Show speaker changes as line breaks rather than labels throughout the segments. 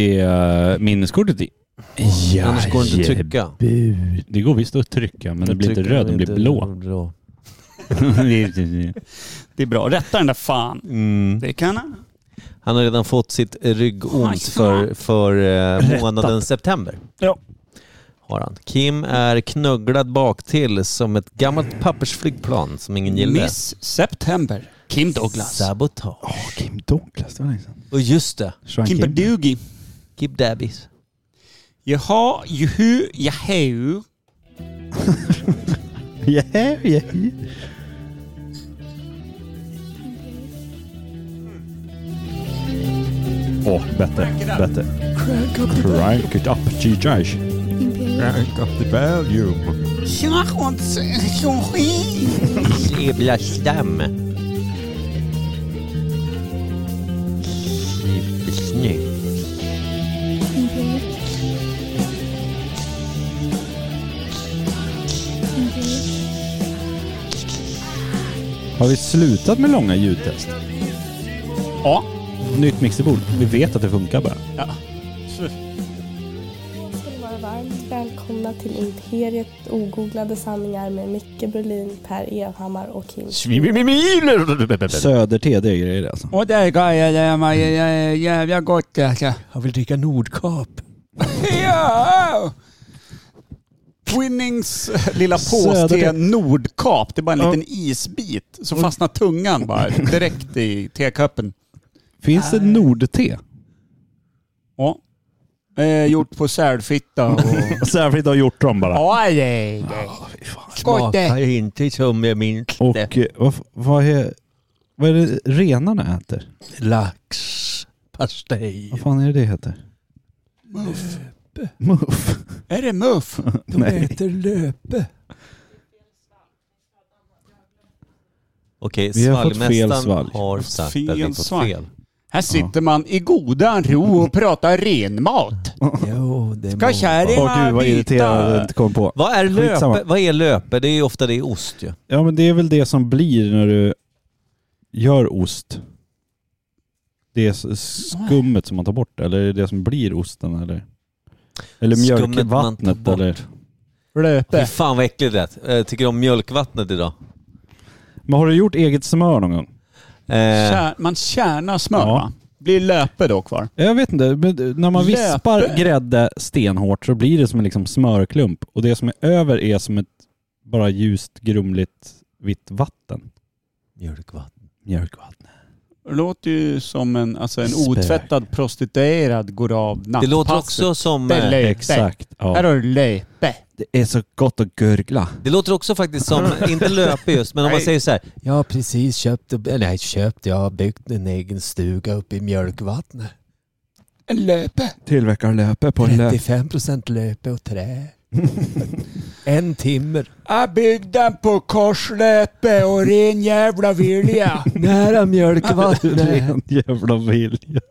är minneskortet i.
Ja, Annars går det inte att trycka.
Det går visst att trycka, men den blir inte
Trycker
röd, den blir
inte
blå.
blå.
Det är bra. Rätta den där fan.
Mm.
Det kan han.
Han har redan fått sitt ryggont för, för eh, månaden september.
Ja.
Har han. Kim är knögglad baktill som ett gammalt pappersflygplan som ingen gillar.
Miss September. Kim Douglas.
Sabotage.
Åh, Kim Douglas, det var länge sedan.
Och just det,
Sean
Kim
Kim.
Badugi.
Kip Dabbis.
Jaha, juhu, jahu.
Yeah, yeah. Åh, oh, bättre. Bättre. Crank it up, G-Jish. Crank up the volume.
Jävla stam. Supersnygg.
Har vi slutat med långa ljudtest?
Ja.
Nytt mixerbord. Vi vet att det funkar bara.
ja.
ska ni vara varmt välkomna till Imperiet ogooglade sanningar med Micke Berlin, Per Evhammar och Kim
Söder TD grejer alltså.
Och där går jag där man jävla gott alltså.
Jag vill dricka Nordkap.
Ja! Twinnings eh, lilla pås
Söder-
te Nordkap. Det är bara en liten isbit. Så fastnar tungan bara direkt i tekuppen.
Finns det Nordte?
Ja. Eh, gjort på sälfitta och...
Särskilt har gjort dem bara.
Ja, det är det. Gott det.
Smakar inte som jag minns
Och
det.
eh, vad, f- vad, är, vad är det renarna äter?
Lax. Pastej.
Vad fan är det det heter?
Muff.
Muff?
Är det muff?
Nej.
äter löpe. Okej,
Vi har fått fel
svallmästaren
svalg.
har sagt
Fel
att vi har fått
svalg.
fel.
Här sitter man i godan ro och pratar renmat.
Jo, det
Ska kärringar
Åh gud vad irriterad jag inte kom på.
Vad är
Skitsamma.
löpe? Vad är löpe? Det är ju ofta det är ost ju.
Ja men det är väl det som blir när du gör ost. Det är s- skummet som man tar bort eller är det det som blir osten eller? Eller
Skummet man
mjölkvattnet
tar bort.
eller?
Fy
Löpe.
fan vad äckligt det lät. Jag tycker om mjölkvattnet idag.
Men har du gjort eget smör någon gång?
Eh,
Kär, man kärnar smör
Ja.
va? Blir löpe då kvar?
Jag vet inte, men när man
Löpe.
vispar grädde stenhårt så blir det som en liksom smörklump och det som är över är som ett bara ljust grumligt vitt vatten.
mjölkvatten.
Mjölkvatten.
Det låter ju som en, alltså en
Spök.
otvättad prostituerad går av nattpasset.
Det låter också som...
Det är
eh,
löpe.
Exakt.
Här
Ja.
har du löpe.
Det är så gott att gurgla.
Det låter också faktiskt som, inte löpe just, men om man
Nej.
säger så här.
Jag har precis köpt, nej köpt, jag har byggt en egen stuga uppe i mjölkvattnet.
En löpe.
Tillverkar löpe på
35 procent löpe och trä. en timmer.
Jag byggde den på korslöpe och ren jävla vilja.
Nära mjölkvattnet.
Ren jävla vilja.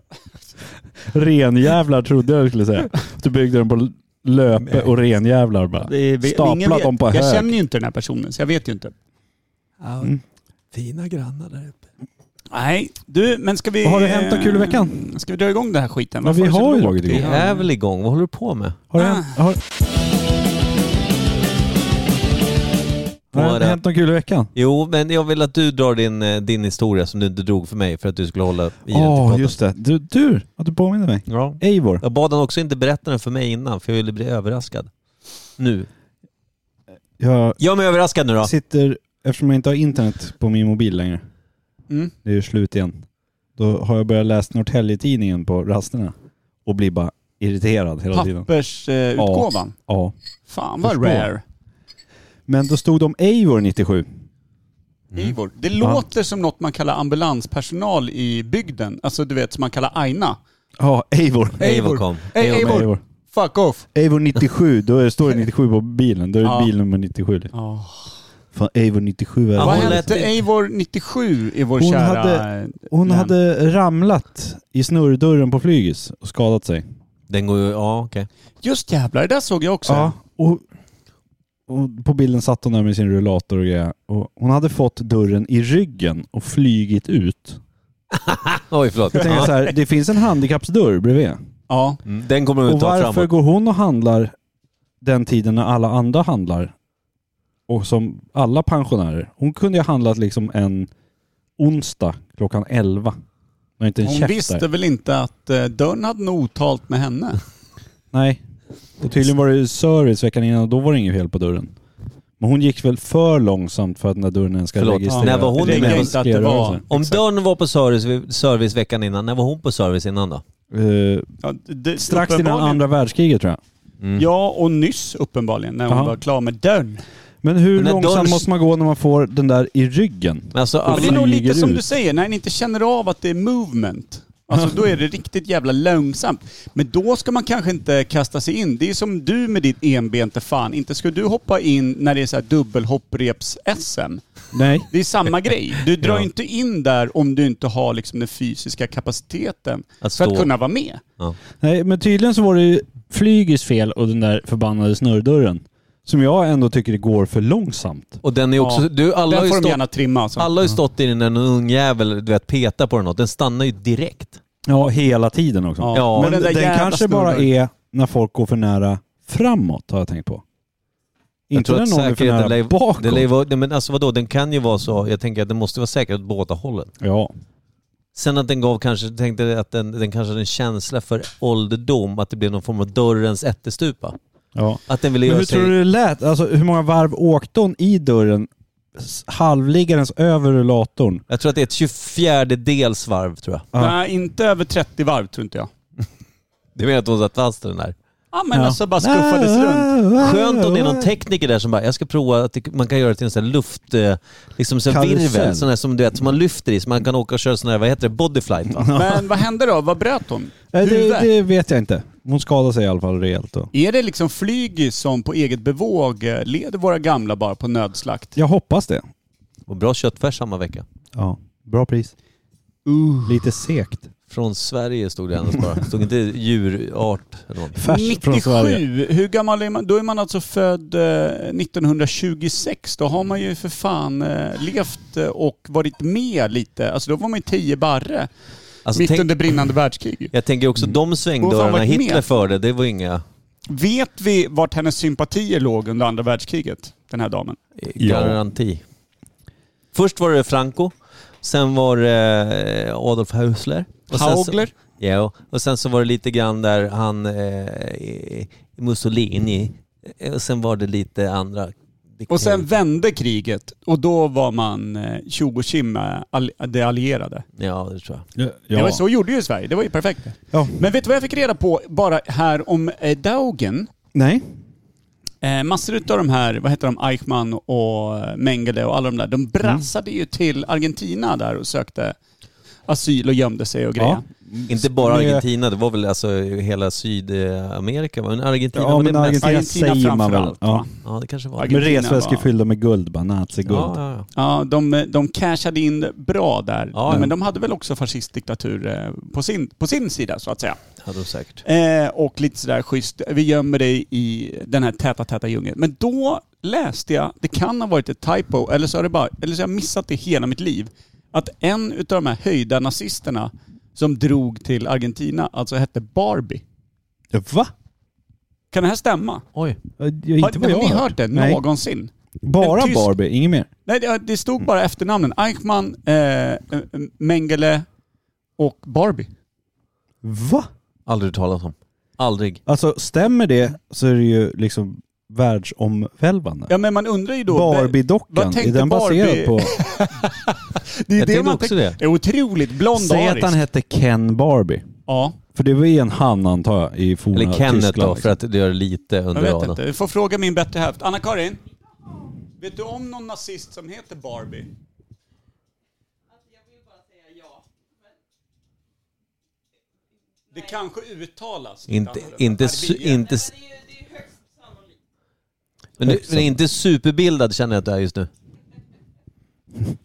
Renjävlar trodde jag du skulle säga. Du byggde den på löpe och renjävlar bara. Stapla dem på
Jag
hög.
känner ju inte den här personen så jag vet ju inte.
Ja, Fina grannar där uppe.
Nej, du men ska vi... eh,
Vad har det hänt då kul i veckan?
Ska vi dra igång den här skiten?
Ja, vi
Varför
har ju
så
dragit
lågt?
Vi
igång.
är väl igång, vad håller du på med?
Har det hänt, har, har det hänt något kul i veckan?
Jo, men jag vill att du drar din, eh, din historia som du inte drog för mig för att du skulle hålla i den typ till
Ja,
podden.
just det. Du, tur att du påminner mig.
Ja.
Eivor.
Jag bad han också inte berätta den för mig innan för jag ville bli överraskad. Nu.
Jag
Gör mig överraskad nu då.
sitter, eftersom jag inte har internet på min mobil längre,
Mm.
det är ju slut igen, då har jag börjat läsa Norrtälje-tidningen på rasterna och blir bara irriterad hela tiden.
Pappersutgåvan.
Ja.
Fan vad
Förstår.
rare.
Men då stod det om Eivor 97. Mm.
Eivor. Det låter som något man kallar ambulanspersonal i bygden. Alltså du vet som man kallar aina.
Ja, Eivor.
Eivor kom.
Ey,
Eivor.
Eivor. Fuck off.
Eivor 97, då är det, står det 97 på bilen. Då är det
Ja.
bil nummer 97. liksom. Fan, Eivor 97 är
Ja,
Vad
hon
hände
lät-
Eivor 97 i vår
Hon
kära...
hade- Hon
Men-
hade ramlat i snurrdörren på Flygis och skadat sig.
Den går ju, ja okej.
Just jävlar, det där såg jag också.
Ja, och, och på bilden satt hon där med sin rullator och grejer. Och hon hade fått dörren i ryggen och flygit ut.
Oj förlåt.
Jag tänkte
Ja.
så här, det finns en handikappsdörr bredvid.
Ja.
Mm, Den kommer de
Och
inte ha
varför
framåt.
går hon och handlar den tiden när alla andra handlar? Och som alla pensionärer. Hon kunde ju ha handlat liksom en onsdag klockan 11. Men inte en
Hon
käft
visste
där.
väl inte att eh, dörren hade nog otalt med henne.
Nej. Och tydligen var det ju service veckan innan och då var det inget fel på dörren. Men hon gick väl för långsamt för att den där dörren ens ska
Förlåt,
registreras.
när var hon
Registreras-
med? Jag
inte att det var-
Om
Exakt.
dörren var på service, service veckan innan, när var hon på service innan då?
Eh,
Ja, det,
strax innan
uppenbarligen.
andra världskriget tror jag.
Ja, och nyss uppenbarligen när hon
Jaha.
var klar med dörren.
Men hur
Men när
långsamt
dörren-
måste man gå när man får den där i ryggen?
Men alltså,
Men det är nog
flyger
lite som
ut.
du säger, när ni inte känner av att det är movement. Alltså då är det riktigt jävla långsamt. Men då ska man kanske inte kasta sig in. Det är som du med ditt enbente fan. Inte ska du hoppa in när det är så här dubbelhoppreps-SM.
Nej.
Det är samma grej. Du drar ju inte in där om du inte har liksom den fysiska kapaciteten
Att
för att
stå.
kunna vara med.
Nej, men tydligen så var det ju flygets fel och den där förbannade snurrdörren. Som jag ändå tycker det går för långsamt.
och den är också...
Ja.
Du, alla har
Den
ju
får de
stått,
gärna trimma alltså.
alla har ju stått i den när en ung jävel du vet, petar på den något. Den stannar ju direkt.
Ja, hela tiden också.
Ja.
Ja.
Men
Och den
den,
där jävla
kanske bara
snurrdörren.
är när folk går för nära framåt, har jag tänkt på. Inte
tror
när
att
någon är för
säkerheten
nära
lär-
bakåt.
Det lär ju vara- nej, men alltså vadå, den kan ju vara så. Jag tänker att den måste vara säker åt båda hållen.
Ja.
Sen att den gav kanske, tänkte att den, den kanske hade en känsla för ålderdom, att det blev någon form av dörrens ättestupa.
ja.
Att den ville
Men
göra
hur
sig...
tror du det lät? Alltså hur många varv åkte hon i dörren s- halvliggandes över rullatorn?
Jag tror att det är ett 24 dels varv tror jag.
Ja.
Nej, inte över 30 varv tror inte jag.
Du menar att hon satt fast i den där?
Ja men alltså bara skuffades runt.
Skönt om det är någon tekniker där som bara, jag ska prova att det- man kan göra det till en sån här luft... eh, Liksom sån här
Karusell.
virvel, sån här som du vet, som man lyfter i, så man kan åka och köra sån här, vad heter det, bodyflight va?
Men vad hände då? Vad bröt hon?
Nej, det,
Huvudet?
det vet jag inte. Hon skadade sig i alla fall rejält då.
Är det liksom flygis som på eget bevåg eh, leder våra gamla bara på nödslakt?
Jag hoppas det.
Och bra köttfärs samma vecka.
Ja, bra pris.
Uh.
Lite segt.
Från Sverige stod det annars bara. Stod inte djurart eller något.
Färs från Sverige.
97, hur gammal är man? Då är man alltså född eh, 1926. Då har man ju för fan eh, levt eh, och varit med lite. Alltså då var man ju 10 barre.
Alltså,
mitt
tänk,
under brinnande världskrig.
Jag tänker också de
Vad fan
svängdörrarna
varit med?
Hitler förde, det var inga...
Vet vi vart hennes sympatier låg under andra världskriget? Den här damen.
Ja.
Garanti. Först var det Franco, sen var det eh, Adolf Hausler. sen så-
Haugler?
Ja, och sen så var det lite grann där han eh, Mussolini. Eh, Och sen var det lite andra.
Och
Mm.
sen vände kriget och då var man eh, tjo och tjim med all- de allierade.
Ja, det tror jag.
Det var så gjorde ju Sverige, det var ju perfekt.
Ja.
Men vet du vad jag fick reda på bara här om eh, Daugen?
Nej.
Eh, massor av de här, vad heter de, Eichmann och eh, Mengele och alla de där, de
Mm.
brassade ju till Argentina där och sökte asyl och gömde sig och grejer.
Ja.
Inte bara
Med-
Argentina, det var väl alltså hela Sydamerika, va? men Argentina
Ja,
var
men
det mest.
Argentina
Argentina
säger man väl.
framförallt,
Ja.
va?
Ja, det kanske var.
Med
Argentina
resväskor
var-
fyllda med guld bara, naziguld.
Ja, ja, ja.
Ja, de, eh, de cashade in bra där.
Ja, ja.
Men de hade väl också fascistdiktatur eh, på sin, på sin sida så att säga.
Hade de säkert.
Eh, och lite sådär schysst, vi gömmer dig i den här täta, täta djungeln. Men då läste jag, det kan ha varit ett typo, eller så har, det bara, eller så har jag missat det hela mitt liv, att en utav de här höjda nazisterna som drog till Argentina alltså hette Barbie.
Va?
Kan det här stämma?
Oj.
Ja, Inte
Har,
vad jag
har ni hört det
Nej.
någonsin?
Bara
En tysk-
Barbie, inget mer.
Nej, det, det stod bara efternamnen. Eichmann, eh, eh, Mengele och Barbie.
Va?
Aldrig hört talas om. Aldrig.
Alltså stämmer det så är det ju liksom världsomvälvande.
Ja men man undrar ju då...
Barbie-dockan,
Vad tänkte
är den
Barbie-
baserad på...
Det är
Jag
det
tänkte
man
också
tänker.
det.
Är Otroligt blond och
Säg att han
arisk.
hette Ken Barbie.
Ja.
För det var ju en han antar jag i forna
Eller Kenneth
Tyskland. liksom.
då, för att det gör lite
Jag
under
vet
radarn.
inte. Vi får fråga min bättre hälft. Anna-Karin? Vet du om någon nazist som heter Barbie? Det kanske uttalas. lite
Inte,
annorlunda.
inte, su,
Barbie.
inte, s- men du, men inte superbildad känner jag att du är just nu.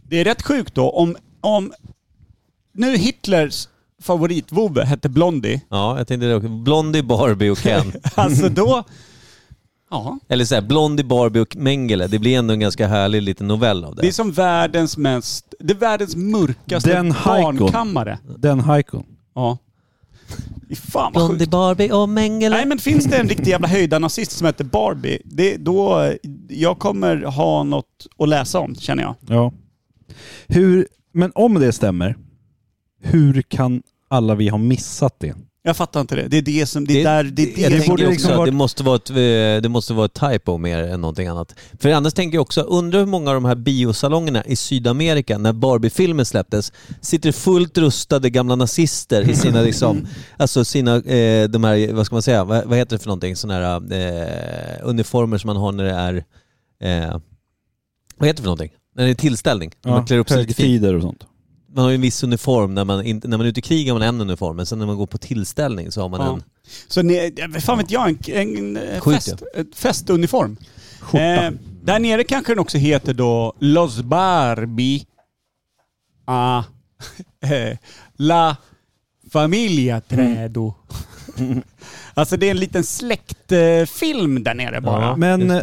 Det är rätt sjukt då om, om nu Hitlers favoritvovve hette Blondie.
Ja, jag tänkte det också. Blondie, Barbie och Ken.
Alltså då... Ja.
Eller såhär, Blondie, Barbie och Mengele. Det blir ändå en ganska härlig liten novell av
Det är
det.
som världens mest... Det är världens mörkaste
Den Haikon.
barnkammare.
Den Haikon.
Ja. Fy Fan vad
Blondie
sjukt.
Barbie och Mengele.
Nej men finns det en riktig jävla höjdarnazist som heter Barbie, det, då... Jag kommer ha något att läsa om känner jag.
Ja. Hur, men om det stämmer, hur kan alla vi ha missat det?
Jag fattar inte det. Det är det som... Det är där... Det, är det,
jag tänker
borde
också
liksom
att
varit-
det måste, vara ett, eh, det måste vara ett typo mer än någonting annat. För annars tänker jag också, undrar hur många av de här biosalongerna i Sydamerika när Barbie-filmen släpptes, sitter fullt rustade gamla nazister i sina, liksom, alltså sina, eh, de här, vad ska man säga, vad, vad heter det för någonting, sådana här eh, uniformer som man har när det är, eh, vad heter det för någonting? När det är tillställning, när man klär upp sig lite fint.
högtider och sånt.
Man har ju en viss uniform, när man, in, när man är ute i krig har man en uniform, men sen när man går på tillställning så har man
Ja.
en
Så ni, vad fan vet jag, en, en eh,
Sjukt,
fest, ett festuniform. Eh, där nere kanske den också heter då Los Barbie a eh, La Familia Trädo.
Mm.
alltså det är en liten släktfilm där nere bara.
Men eh,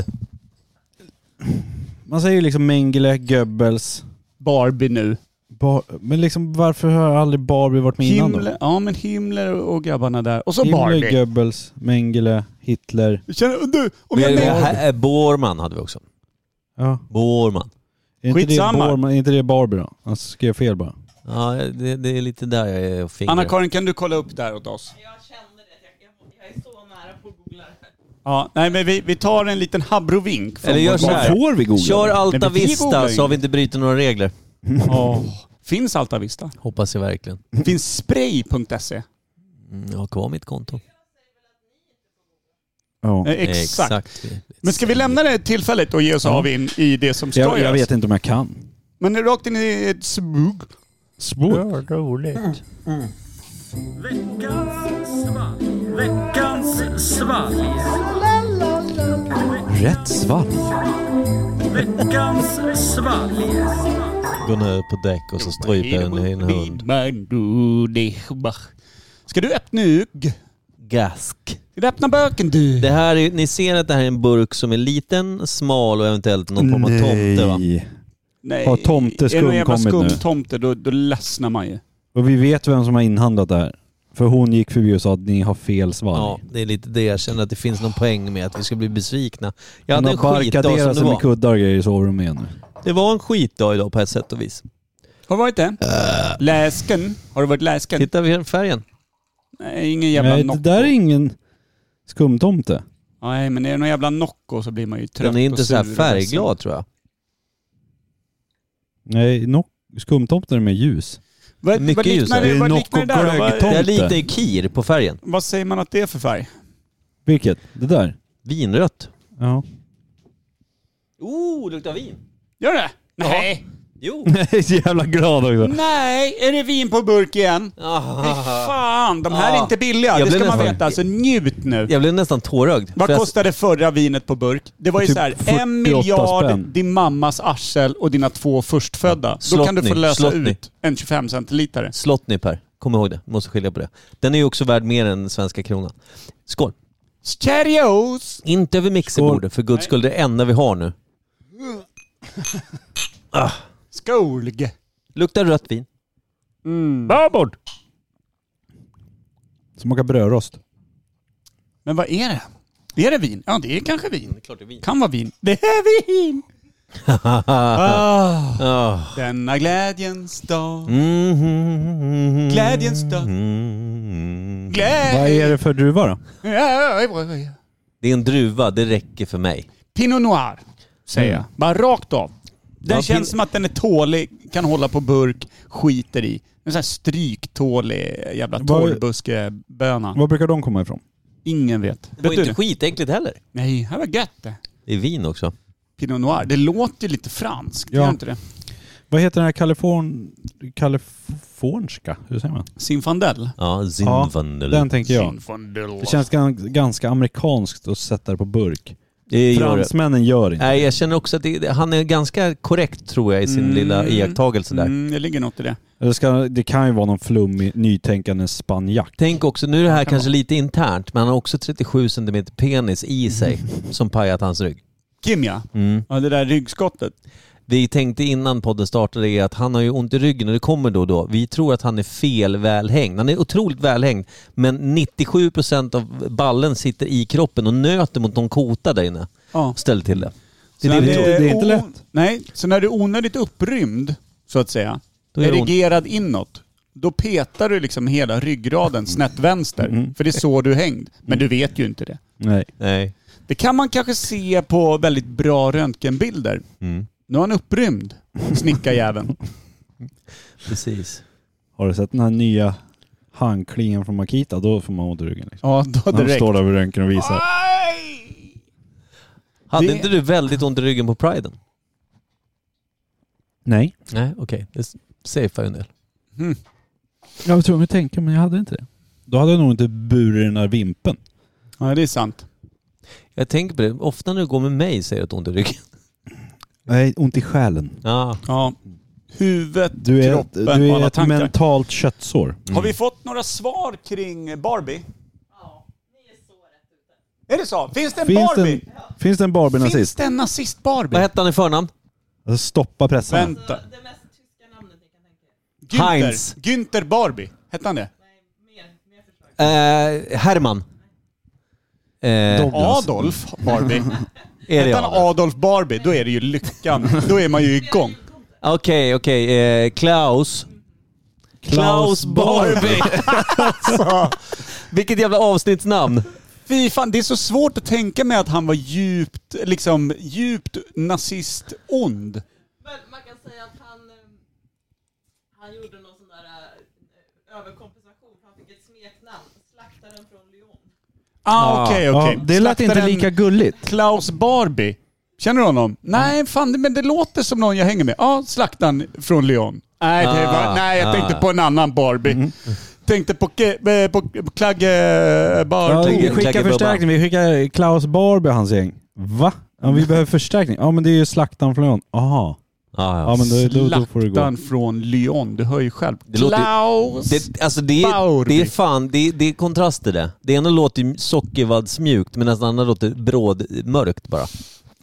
man säger ju liksom Mengele, Goebbels,
Barbie nu.
Bar men liksom varför har aldrig Barbie varit med innan då?
Himmler, ja men Himmler och grabbarna där. Och så
Himmler,
Barbie.
Goebbels, Mengele, Hitler.
Känner, du, om
Vi
jag
hade-
menar,
här- Borman hade vi också.
Ja.
Borman.
Är inte, det
Skitsamma.
Borman, är inte det Barbie då? Han skrev fel bara.
Ja, det, det är lite där jag är och fingrar.
Anna-Karin kan du kolla upp där åt oss?
Jag kände det. Jag, jag, jag är så nära på att googla det här.
Ja, nej men vi, vi tar en liten habrovink. från
Eller gör
vår
så här.
barn.
Får vi googla?
Kör
Nej,
Alta
men vi googlar
Vista
ju.
så har vi inte brutit några regler.
Åh, Finns Altavista?
Hoppas jag verkligen.
Finns spray.se?
Mm, Jag har kvar mitt konto.
Ja.
Eh, Exakt.
Exakt.
Men ska vi lämna det tillfället och ge oss av in i det som ska
Jag, jag
göras?
vet inte om jag kan.
Men rakt in i ett smug.
Spår.
roligt.
Rätt svalg.
Gå ner på däck och så stryper en, en hund.
Ska du öppna ugg?
Gask.
Ska du öppna böken du?
Det här är, ni ser att det här är en burk som är liten, smal och eventuellt någon form av tomte va?
Nej.
Har tomteskum
är det någon jävla
kommit
skum
nu?
tomte då, då ledsnar man ju.
Och vi vet vem som har inhandlat det här. För hon gick förbi och sa att ni har fel svalg.
Ja, det är lite det. Jag känner att det finns någon poäng med att vi ska bli besvikna. Jag
Hon
hade en
har
skitdag som
barkaderat
det
sig med
var.
kuddar och grejer i sovrummet igen nu.
Det var en skitdag idag på ett sätt och vis.
Har du varit det? Äh. Läsken? Har du varit läsken?
Titta vid färgen.
Nej, ingen jävla
Nej,
Nocco.
det där är ingen skumtomte.
Nej, men är det någon jävla Nocco så blir man ju trött
Den är inte
och
så här
sur och
färgglad tror jag.
Nej, no skumtomten är mer ljus.
Vad,
Mycket
vad liknar
ljusare.
det,
Det är
vad
Nocco
liknar det där? då?
glöggtomte.
Det här
Tomte.
liknar ju kir på färgen.
Vad, vad säger man att det är för färg?
Vilket? Det där?
Vinrött.
Ja.
Oh, det luktar vin.
Gör det? Nej.
Jo.
Jag är så jävla glad också.
Nej, är det vin på burk igen? Fy fan, de här är
Ah.
inte billiga.
Jag
det ska
blev
man
nästan-
veta. Alltså njut nu.
Jag blev nästan tårögd.
Vad
För jag-
kostade förra vinet på burk? Det var ju
Typ
så här,
48
en miljard,
spänn.
din mammas arsel och dina två förstfödda. Då
Slottny,
kan du få lösa
Slottny.
ut en 25 centilitare.
Slottny Per. Kom ihåg det. Måste skilja på det. Den är ju också värd mer än svenska kronan. Skål.
Cheerios!
Inte över mixerbordet för guds skull. Det är det enda vi har nu.
Skolg!
Luktar rött vin.
Mm. Babord!
Smakar brödrost.
Men vad är det? Är det vin? Ja, det är kanske vin.
Klart det är vin.
Kan vara vin. Det är vin! Ah. Denna glädjens dag.
Mm. Mhm.
Glädjens dag.
Vad är
Glädje.
det för druva då?
Det är en druva. Det räcker för mig.
Pinot Noir, säger
Mm.
jag. Mm. Bara rakt av. Den
Ja,
känns
pin-
som att den är tålig, kan hålla på burk, skiter i. En sån här stryktålig jävla
Vad-
torrbuskeböna.
Var brukar de komma ifrån?
Ingen vet.
Det var
Vet
ju
du?
inte skitäckligt heller.
Nej, här var gött det.
Det är vin också.
Pinot Noir. Det låter ju lite franskt,
Ja.
gör inte det?
Vad heter den här kaliforn... Kalifornska? Hur säger man?
Zinfandel.
Ja,
Ja,
Zinfandel.
Den tänker jag.
Zinfandel.
Det känns gan- ganska amerikanskt att sätta det på burk.
det gör det.
Fransmännen gör inte.
Nej, jag känner också att det, det- han är ganska korrekt tror jag i sin lilla iakttagelse där.
Mm, det ligger något i det.
Eller ska, det kan ju vara någon flummig, nytänkande spanjack.
Tänk också, nu är det här kanske lite internt, men han har också 37 cm penis i sig som pajat hans rygg.
Kim ja.
Mm.
Ja, det där ryggskottet.
vi tänkte innan podden startade är att han har ju ont i ryggen och det kommer då och då. Vi tror att han är fel välhängd. Han är otroligt välhängd men 97% av ballen sitter i kroppen och nöter mot någon kota där inne.
Ja.
Ställer till det. Det
Så
är det
när
vi tror.
det är inte
o-
lätt.
Nej, så när du är onödigt upprymd, så att säga,
Då är det ont.
erigerad inåt, då petar du liksom hela ryggraden snett vänster.
Mm.
För det är så du är hängd. Men du vet ju inte det.
Nej.
Nej.
Det kan man kanske se på väldigt bra röntgenbilder.
Mm.
Nu är han upprymd, snickarjäveln.
Precis.
Har du sett den här nya handklingen från Makita? Då får man ont i ryggen. Liksom.
Ja, då
När de
direkt.
står där vid röntgen och
Ah.
visar.
Aj!
Hade
Det-
inte du väldigt ont i ryggen på priden?
Nej.
Nej, okej. Det safear ju en del.
Mm.
Jag var tvungen att tänka men jag hade inte det. Då hade jag nog inte burit den där vimpen.
Ja, det är sant.
Jag tänker på det, ofta när du går med mig säger du att du har ont i ryggen.
Nej, ont i själen.
Ja.
Ja. Huvudet,
Du är,
kroppen
du
och
är
alla
ett
tankar.
mentalt köttsår.
Har vi fått några svar kring Barbie? Ja, ni är så rätt ute. Är det så? Finns det en
Finns det
Barbie?
en, finns det en
Finns
Barbie-nazist?
det en nazist
Vad
Barbie?
hette han i förnamn?
Alltså stoppa pressarna.
Vänta.
Alltså, Det mest tyska namnet ni kan tänka er.
Günther.
Heinz.
Günther Barbie. Hette han det?
Eh, Herman. Eh,
Douglas.
Adolf Barbie.
är det
Hette han
jag?
Adolf Barbie, då är det ju lyckan. Då är man ju igång.
Okej, okej. Eh, Klaus. Klaus Barbie.
Så,
Vilket jävla avsnittsnamn.
fy fan, det är så svårt att tänka mig att han var djupt, liksom djupt nazist-ond.
Men man kan säga att han, eh, han gjorde någon sån där eh, överkompensation. Han fick ett smeknamn. Slaktaren från Lyon.
Ah, okej, okej.
Ja, det lät inte
Slaktaren
lika gulligt.
Klaus Barbie. Känner du honom? Nej, fan, det- men det låter som någon jag hänger med. Ja, slaktaren från Lyon. Nej, det var,
Ah,
nej jag tänkte
ah.
på en annan Barbie. Tänkte på, ke, eh, på, på Klagge eh,
Ja,
Barbie.
vi
Klagge-
skickar
Klagge
förstärkning. Vi skickar Klaus Barbie och hans gäng. Va? Ja, vi behöver förstärkning. Ja men det är ju slaktaren från Lyon. Aha.
Ah,
Ja men då, då, då får det gå.
Slaktaren från Lyon, du hör ju själv.
Det låter-
Klaus!
Det, alltså det, är,
Barbie.
det är fan, det är, det är kontraster det. Det ena låter ju sockervaddsmjukt medan det andra låter brådmörkt bara.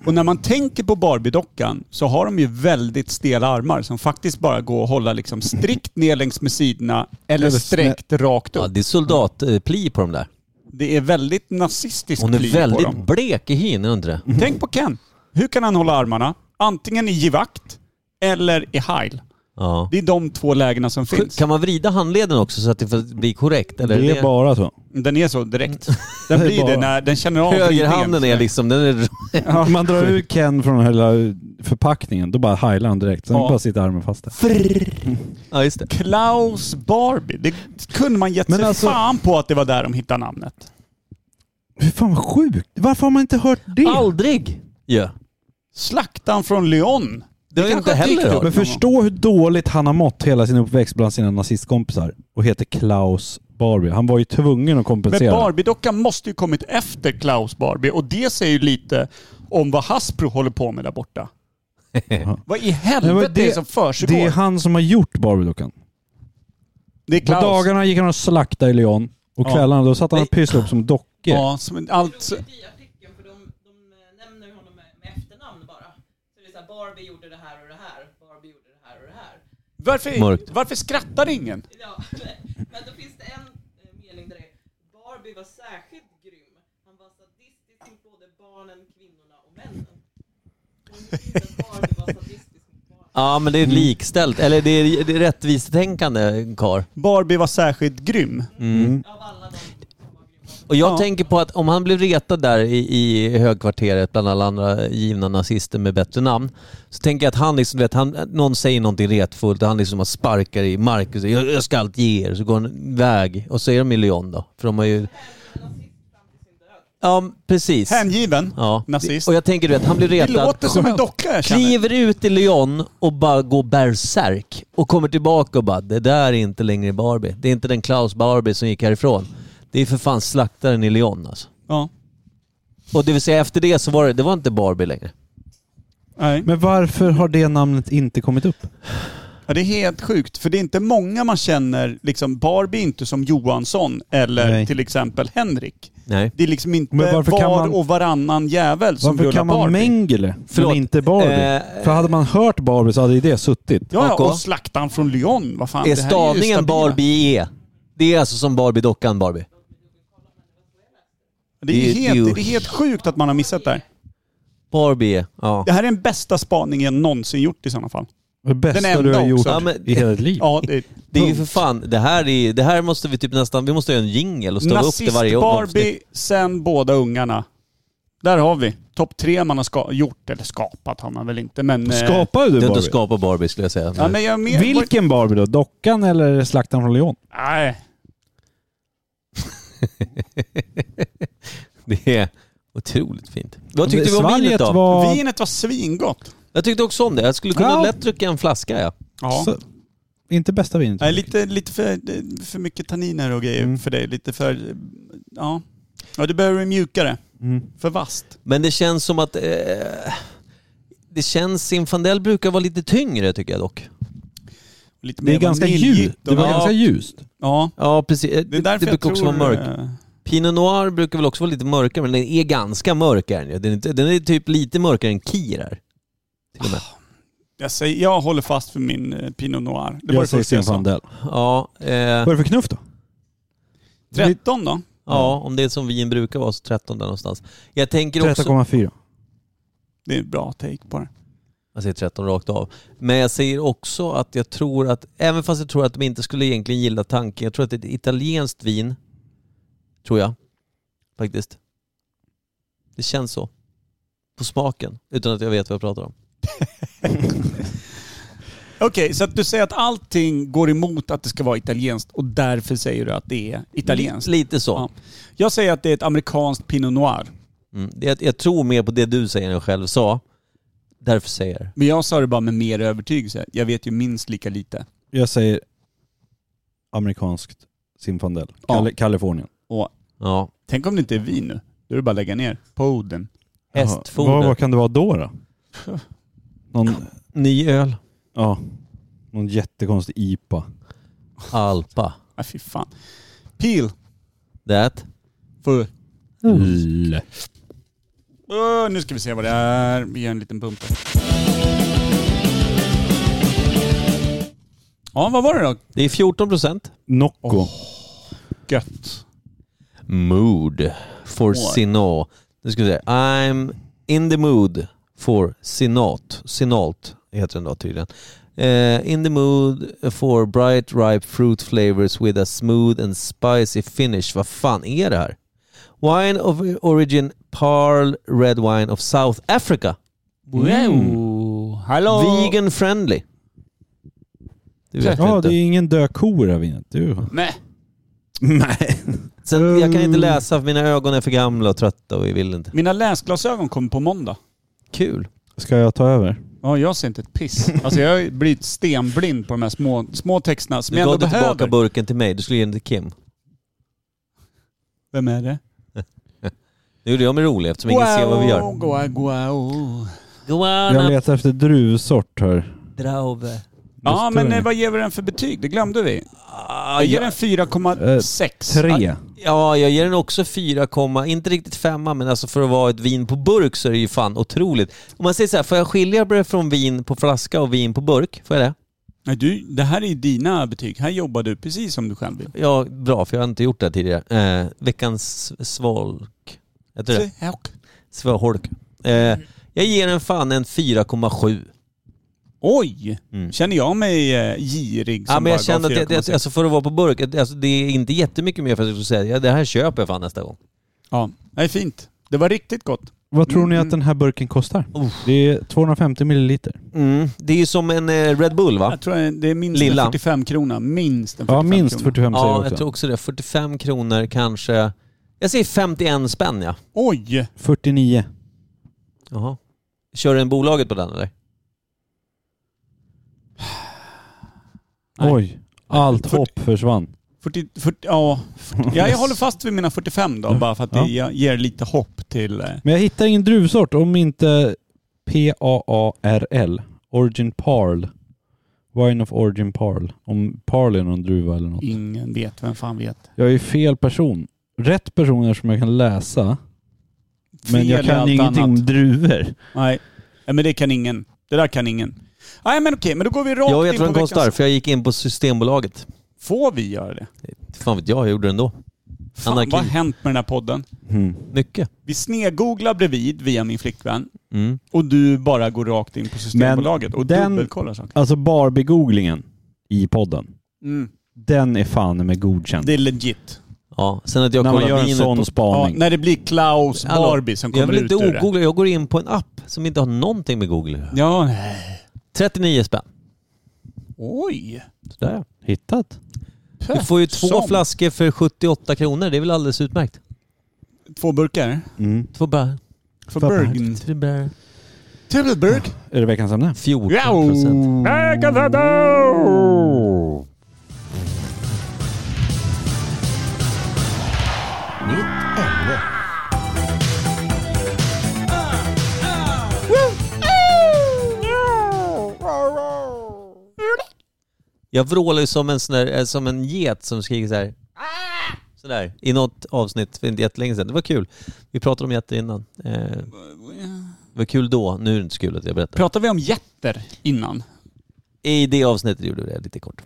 Och när man tänker på Barbie-dockan så har de ju väldigt stela armar som faktiskt bara går att hålla liksom strikt ner längs med sidorna eller
Eller snä-
sträckt rakt
Ja,
upp.
det är soldatpli på de där.
Det är väldigt nazistiskt
Hon är
pli på dem. Mm.
väldigt blek i hyn, är hon inte det?
Tänk på Ken. Hur kan han hålla armarna? Antingen i givakt eller i heil.
Ja.
Det är de två lägena som finns.
Kan man vrida handleden också så att det får bli korrekt? Eller
Det är bara så.
Den är så direkt. Den blir det
Mm. bara-
när den känner av
Högerhanden är
vridningen.
liksom, den är...
Man drar ur Ken från hela förpackningen, då bara heilar han direkt. Sen
Ja.
bara sitter armen fast där.
Ja, just det.
Klaus Barbie. Det kunde man gett
Men
sig
alltså-
fan på att det var där de hittade namnet.
Fy fan vad sjukt! Varför har man inte hört det?
Aldrig! Ja.
Slaktan från Lyon.
Det har jag
kanske
inte heller
dykt upp
hört.
Men förstå hur dåligt han har mått hela sin uppväxt bland sina nazistkompisar och heter Klaus Barbie. Han var ju tvungen att
Men
kompensera.
Barbie-dockan måste ju kommit efter Klaus Barbie och det säger ju lite om vad Hasbro håller på med där borta. vad i
Men vad
helvete det, är det som försiggår?
det är
Det,
han som har gjort Barbie-dockan.
är
På
Klaus.
dagarna gick han och slaktade i Lyon och
Ja.
kvällarna då satt han och
Nej.
pysslade upp som dockor.
Ja, som allt...
Otroligt i artikeln för de, de eh, nämner ju honom med, med efternamn bara. Så det är så här, Barbie gjorde det här och det här. Barbie gjorde det här och det här.
Mörkt.
Varför, varför skrattar ingen?
Ja, men då finns det en eh, mening där det är Barbie var särskilt grym. Han var sadistisk mot både barnen, kvinnorna och männen. Och nu finns det att Barbie var sadistisk mot barnen.
Ja, men det är
Mm.
likställt. Eller det är, det är rättvisetänkande, kar.
Barbie var särskilt grym.
Av alla de som var grymma.
Och jag
Ja.
tänker på att om han blev retad där i, i högkvarteret bland alla andra givna nazister med bättre namn, så tänker jag att han liksom, du vet, han, någon säger någonting retfullt och han liksom bara sparkar i marken och säger jag, jag ska allt ge er, så går han iväg och så är de i Lyon då. För de har ju... Ja, precis.
Hängiven.
Ja.
Nazist.
Och jag tänker du vet, han blir
Det
retad.
låter som en docka jag känner.
Kliver ut i Lyon och bara går berserk och kommer tillbaka och bara det där är inte längre Barbie. Det är inte den Klaus Barbie som gick härifrån. Det är för fan slaktaren i Lyon alltså.
Ja.
Och det vill säga efter det så var det, det var inte Barbie längre.
Nej.
Men varför har det namnet inte kommit upp?
Ja, det är helt sjukt, för det är inte många man känner, liksom Barbie är inte som Johansson eller
Nej.
till exempel Henrik.
Nej.
Det är liksom inte
Men varför
var
kan man-
och varannan jävel som
Varför
rullar
kan man
Barbie.
Mengele
Förlåt.
men inte Barbie?
Eh,
För hade man hört Barbie så hade ju det suttit.
Ja,
AK.
ja, och slaktaren från Lyon. Vad fan,
Är
det här ju
stavningen
stabila.
Barbie E? Det är alltså som Barbie-dockan Barbie?
Det är,
Det är ju-
helt, det är helt sjukt att man har missat det här.
Barbie E, ja.
Det här är den bästa spaningen jag någonsin gjort i sådana fall.
Det bästa
enda
du har gjort
också.
Ja, men-
i hela ditt liv.
Ja, det är
Det är ju för fan, det här, är, det här måste vi typ nästan, vi måste göra en jingle och stava upp det varje avsnitt.
Nazist-Barbie, sen båda ungarna. Där har vi. Topp tre man har ska- gjort, eller skapat har man väl inte, men... eh,
Skapar du
Det är inte
Barbie?
att skapa Barbie skulle jag säga.
Ja, men jag är mer,
Vilken Barbie då? Dockan eller slaktaren från Lyon?
Nej.
Det är otroligt fint. Vad
Men
tyckte vi om vinet
svalget
då?
Var...
Vinet var svingott.
Jag tyckte också om det. Jag skulle kunna
Ja.
lätt dricka en flaska ja.
Ja.
Så, inte bästa vinet.
Nej, lite, lite för, för mycket tanniner och grejer
Mm.
för dig. Lite för... Ja. Ja, du behöver mjukare.
Mm.
För vasst.
Men det känns som att... Eh, det känns... Zinfandel brukar vara lite tyngre tycker jag dock.
Lite
Det är
mer
ganska
vaniljigt
ljust.
och-
Det var
ja,
ganska ljust.
Ja.
Ja precis. Eh,
Det är därför jag
brukar
tror...
också vara mörk.
eh,
Pinot Noir brukar väl också vara lite mörkare men den är ganska mörk är den ju. Den är, inte- den är typ lite mörkare än Kirar. Till och med.
Jag, säger, jag håller fast för min eh, Pinot Noir. Det var det
Jag säger
första jag sa.
Zinfandel.
Ja, eh,
Vad är det för knuff då?
13 då?
ja, om det är som vin brukar vara så 13 där någonstans. Jag tänker också...
13,4.
Det är en bra take på det.
Jag säger 13 rakt av. Men jag säger också att jag tror att, även fast jag tror att de inte skulle egentligen gilla tanken, jag tror att det är ett italienskt vin, tror jag, faktiskt. Det känns så. På smaken, utan att jag vet vad jag pratar om.
Okej, så att du säger att allting går emot att det ska vara italienskt och därför säger du att det är italienskt.
Lite så.
Ja. Jag säger att det är ett amerikanskt Pinot Noir.
Mm. Det- Jag, jag tror mer på det du säger än jag själv sa. Därför säger jag det.
Men jag sa det bara med mer övertygelse. Jag vet ju minst lika lite.
Jag säger amerikanskt Zinfandel. Kali- Kalifornien.
Ja.
Tänk om det inte är vin nu. Då är det bara att lägga ner. Poden.
Jaha.
Hästfoder.
Vad, vad kan det vara då då? Någon,
Ny öl.
ja, någon jättekonstig IPA.
Alpa.
Ah, fy fan. Peel.
Det.
För.
Mm.
Öh, nu ska vi se vad det är. Vi gör en liten bumper. Ja, vad var det då?
Det är 14 procent.
Nocco.
Gött.
mood for
Åh.
sinat. Nu ska vi se. I'm in the mood for sinat. Sinalt heter den då tydligen. Eh, in the mood for bright ripe fruit flavors with a smooth and spicy finish. Vad fan är det här? Wine of origin Parl Red Wine of South Africa.
Wow. Mm. Hallå.
Vegan friendly. Det vet jag
Ja,
inte.
det är ingen död ko i det här vinet. Du.
Nej.
Nej.
Sen, jag kan inte läsa för mina ögon är för gamla och trötta och jag vill inte.
Mina läsglasögon kommer på måndag.
Kul.
Ska jag ta över?
Ja, jag ser inte ett piss. Alltså jag har blivit stenblind på de här små, små texterna som
Du
jag
gav
ändå
inte
behöver.
tillbaka burken till mig. Du skulle ge den till Kim.
Vem är det?
Nu gjorde jag mig rolig eftersom ingen ser vad vi gör.
Wow, wow.
Jag
Guana
letar efter druvsort här.
Traube.
Ja,
Just
men
det.
eh, vad ger vi den för betyg? Det glömde vi.
Ah, Eh,
Jag ger den
jag,
4,6.
Tre.
ja, jag ger den också 4, komma- inte riktigt femma men alltså för att vara ett vin på burk så är det ju fan otroligt. Om man säger så här, får jag skilja på det från vin på flaska och vin på burk? Får jag det?
Nej, du, det här är ju dina betyg. Här jobbar du precis som du själv vill.
Ja, bra för jag har inte gjort det här tidigare. Eh, veckans svalk. Heter det? Svalk. Eh, jag ger den fan en 4,7.
Oj!
Mm.
Känner jag mig eh, girig som
Ja, men
bara
jag känner
gav
att det,
4,6?
det, alltså för att vara på burk, att- alltså det är inte jättemycket mer för att jag skulle säga ja, det här köper jag fan nästa gång.
Ja, det är fint. Det var riktigt gott.
Vad tror ni
Mm.
att den här burken kostar? Det är 250 milliliter.
Mm. Det är ju som en eh, Red Bull va?
Jag tror det är minst
Lilla.
en 45 krona. Minst en 45
Ja, minst
krona.
45 säger
Ja,
jag
jag
också.
tror också det. 45 kronor kanske. Jag säger 51 spänn ja.
Oj!
49.
Jaha. Kör den bolaget på den eller?
Nej.
Oj. Allt
Fyrtio-
hopp försvann.
40, 40, ja, 40, ja, jag håller fast vid mina 45 då, bara för att det
Ja.
ja. ger lite hopp till... eh,
Men jag hittar ingen druvsort om inte PAARL. Origin Parl. Wine of Origin Parl. Om Parl är någon druva eller något.
Ingen vet, vem fan vet.
Jag är ju fel person. Rätt personer som jag kan läsa, men jag
Fel i
kan
allt
ingenting
annat.
om druvor.
Nej. Nej, men det kan ingen. Det där kan ingen. Nej, men okej, men då går vi rakt
Jag
in
vet
på
vad den
veckans-
kostar för jag gick in på Systembolaget.
Får vi göra det?
Fan vet jag, jag gjorde det ändå.
Fan,
Anarki.
vad har hänt med den här podden?
Mm.
Mycket.
Vi snegooglar bredvid via min flickvän
Mm.
och du bara går rakt in på Systembolaget och
den-
dubbelkollar saker. Mm.
Alltså Barbie-googlingen i podden, Mm. den är fan med godkänd.
Det är legit.
Ja, sen att jag
När man
kollar
gör en
vinet
sån
på...
Ja,
spaning.
när det blir Klaus
Hallå,
Barbie som
Jag
kommer
vill
ut
inte
ur det.
ogoogla, jag går in på en app som inte har någonting med Google att göra.
Ja, nej.
39 spänn.
Oj.
Sådär ja.
Hittat.
Du får ju två
Som.
flaskor för 78 kronor, det är väl alldeles utmärkt.
Två burkar.
Mm.
Två bär.
För
För
Bergen.
Tre bär.
Tubbleburg.
Är det veckans ämne?
14 procent. Jag vrålar ju som en, sån där, eh, som en get som skriker så här. Sådär, i något avsnitt för inte jättelänge sedan. Det var kul. Vi pratade om jätte innan. Eh, det var kul då, nu är det inte så kul att jag berättar.
Pratar vi om jätter innan?
I det avsnittet gjorde vi det lite kort.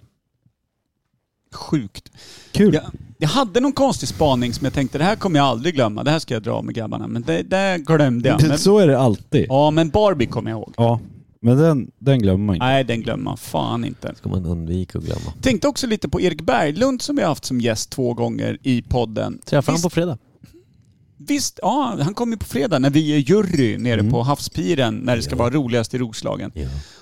Sjukt.
Kul.
Jag, jag hade någon konstig spaning som jag tänkte det här kommer jag aldrig glömma. Det här ska jag dra med grabbarna. Men det, det glömde jag. Men,
Så är det alltid. Ja.
ja, men Barbie kommer jag ihåg.
Men den, den glömmer man inte.
Nej, den glömmer man fan inte.
Ska man undvika att glömma.
Tänkte också lite på Erik Berglund som jag haft som gäst två gånger i podden.
Träffar han
Visst-
på fredag.
Visst, ja, han kommer ju på fredag när vi är jury nere
Mm.
på havspiren när det ska vara roligast i Roslagen.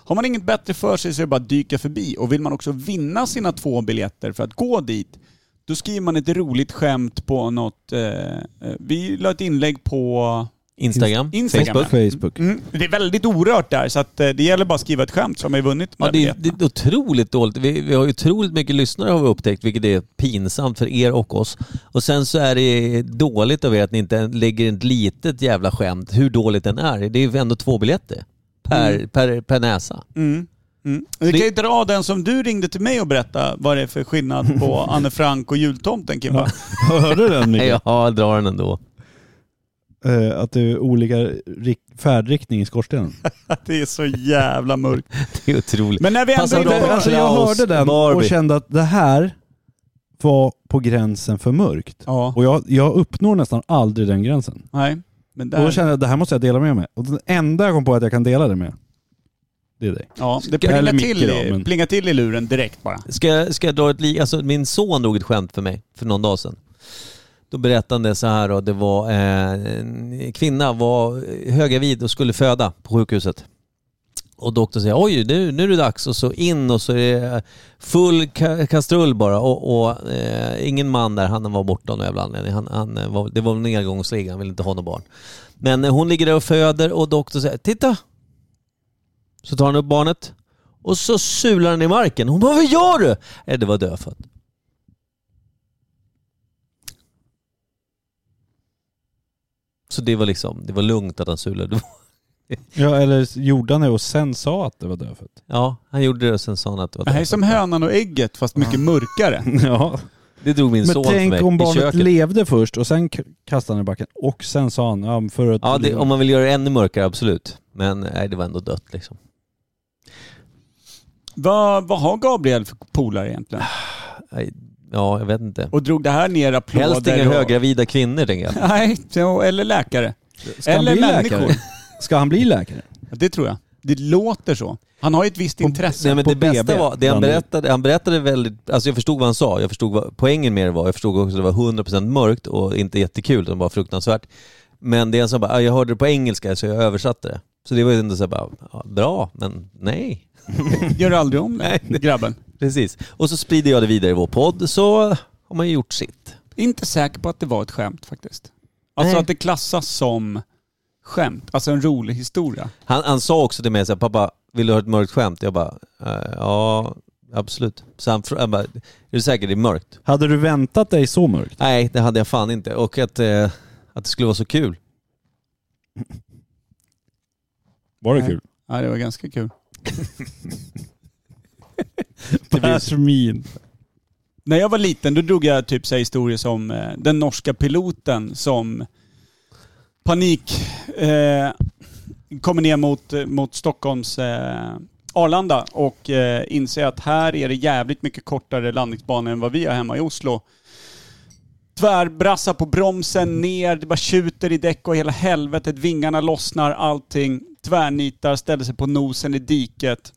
Har man inget bättre för sig så är det bara att dyka förbi och vill man också vinna sina två biljetter för att gå dit då skriver man ett roligt skämt på något... Eh, eh, vi la ett inlägg på...
Instagram,
Instagram,
Facebook.
Facebook.
Mm, det är väldigt orört där så att eh, det gäller bara att skriva ett skämt så har man ju vunnit de
Ja,
här
det, är,
biljetterna.
det är otroligt dåligt. Vi, vi har ju otroligt mycket lyssnare har vi upptäckt, vilket är pinsamt för er och oss. Och sen så är det dåligt av er att ni inte lägger ett litet jävla skämt, hur dåligt den är. Det är ju ändå två biljetter per, per, per näsa.
Mm. Mm. Vi kan ju dra den som du ringde till mig och berätta vad det är för skillnad på Anne Frank och jultomten Kimba.
Hörde du den Mikael?
Ja, jag drar den ändå.
Eh, Att det är olika rik- färdriktning i skorstenen.
Det är så jävla mörkt.
Det är otroligt.
Men när vi ändå
Passar
är
bra.
inne på-
Alltså jag
Klaus
hörde den och
Barbie.
kände att det här var på gränsen för mörkt.
Ja,
Och jag, jag uppnår nästan aldrig den gränsen.
nej. Men
Och då
där,
kände jag att det här måste jag dela med mig. Och den enda jag kom på att jag kan dela det med, det är dig.
ja, det
eller
plingar
Micke
till, i,
då, men-
plingar till i luren direkt bara.
Ska, jag- ska jag dra ett li- alltså, Min son drog ett skämt för mig för någon dag sedan. Då berättade han det så här och det var eh, en kvinna var högravid och skulle föda på sjukhuset. Och doktorn säger oj nu, nu är det dags och så in och så är det full ka- kastrull bara och, och eh, ingen man där, han var borta av någon jävla anledning. Han, han eh, var, det var en nedgångsliga, han ville inte ha något barn. Men eh, hon ligger där och föder och doktorn säger titta! Så tar han upp barnet och så sular han i marken. Hon bara, vad gör du? Nej, det var dödfött. Så det var liksom, det var lugnt att han sulade.
Ja, eller gjorde han det och sen sa att det var dödfött?
Ja, han gjorde det och sen sa han att det var
Det här är som hönan och ägget fast mycket mörkare.
Ja.
Det drog min
Men
son för
tänk
mig
om
i
barnet
köket.
levde först och sen k- kastade han i backen och sen sa han ja, men för att... liksom,
Ja, det, om man vill göra det ännu mörkare, absolut. Men nej, det var ändå dött liksom.
Vad, vad har Gabriel för polare egentligen?
Nej, Ja, jag vet inte.
Och drog det här ner applåder?
Helst inga
och...
högravida kvinnor, tänker jag.
Nej, så- eller läkare.
Ska han
eller
bli
människor.
läkare? Ska han bli läkare?
Det tror jag. Det låter så. Han har ju ett visst intresse.
Nej, men
på
det Alltså, bästa
BB.
var, det han
Bland-
berättade, han berättade väldigt, alltså jag förstod vad han sa, jag förstod vad poängen med det var, jag förstod också att det var 100% mörkt och inte jättekul, utan bara fruktansvärt. Men det han sa bara, "Ah, jag hörde det på engelska så jag översatte det. Så det var ju ändå så här bara, "Ja, bra, men nej.
Gör aldrig om det, grabben.
Precis. Och så sprider jag det vidare i vår podd, så har man ju gjort sitt.
Inte säker på att det var ett skämt faktiskt. Alltså
Nej.
att det klassas som skämt. Alltså en rolig historia.
Han, han sa också till mig så här, pappa, vill du ha ett mörkt skämt? Jag bara, "Eh, ja, absolut. Så han, frå- han bara, är du säker det är mörkt?
Hade du väntat dig så mörkt?
Nej, det hade jag fan inte. Och att, eh, att det skulle vara så kul.
Var det
Nej.
kul?
Ja, det var ganska kul.
That's mean.
När jag var liten då drog jag typ så här historier som eh, den norska piloten som panik eh, kommer ner mot, eh, mot Stockholms eh, Arlanda och eh, inser att här är det jävligt mycket kortare landningsbanor än vad vi har hemma i Oslo. Tvärbrassar på bromsen, ner, det bara tjuter i däck och hela helvetet, vingarna lossnar, allting. Tvärnitar, ställer sig på nosen i diket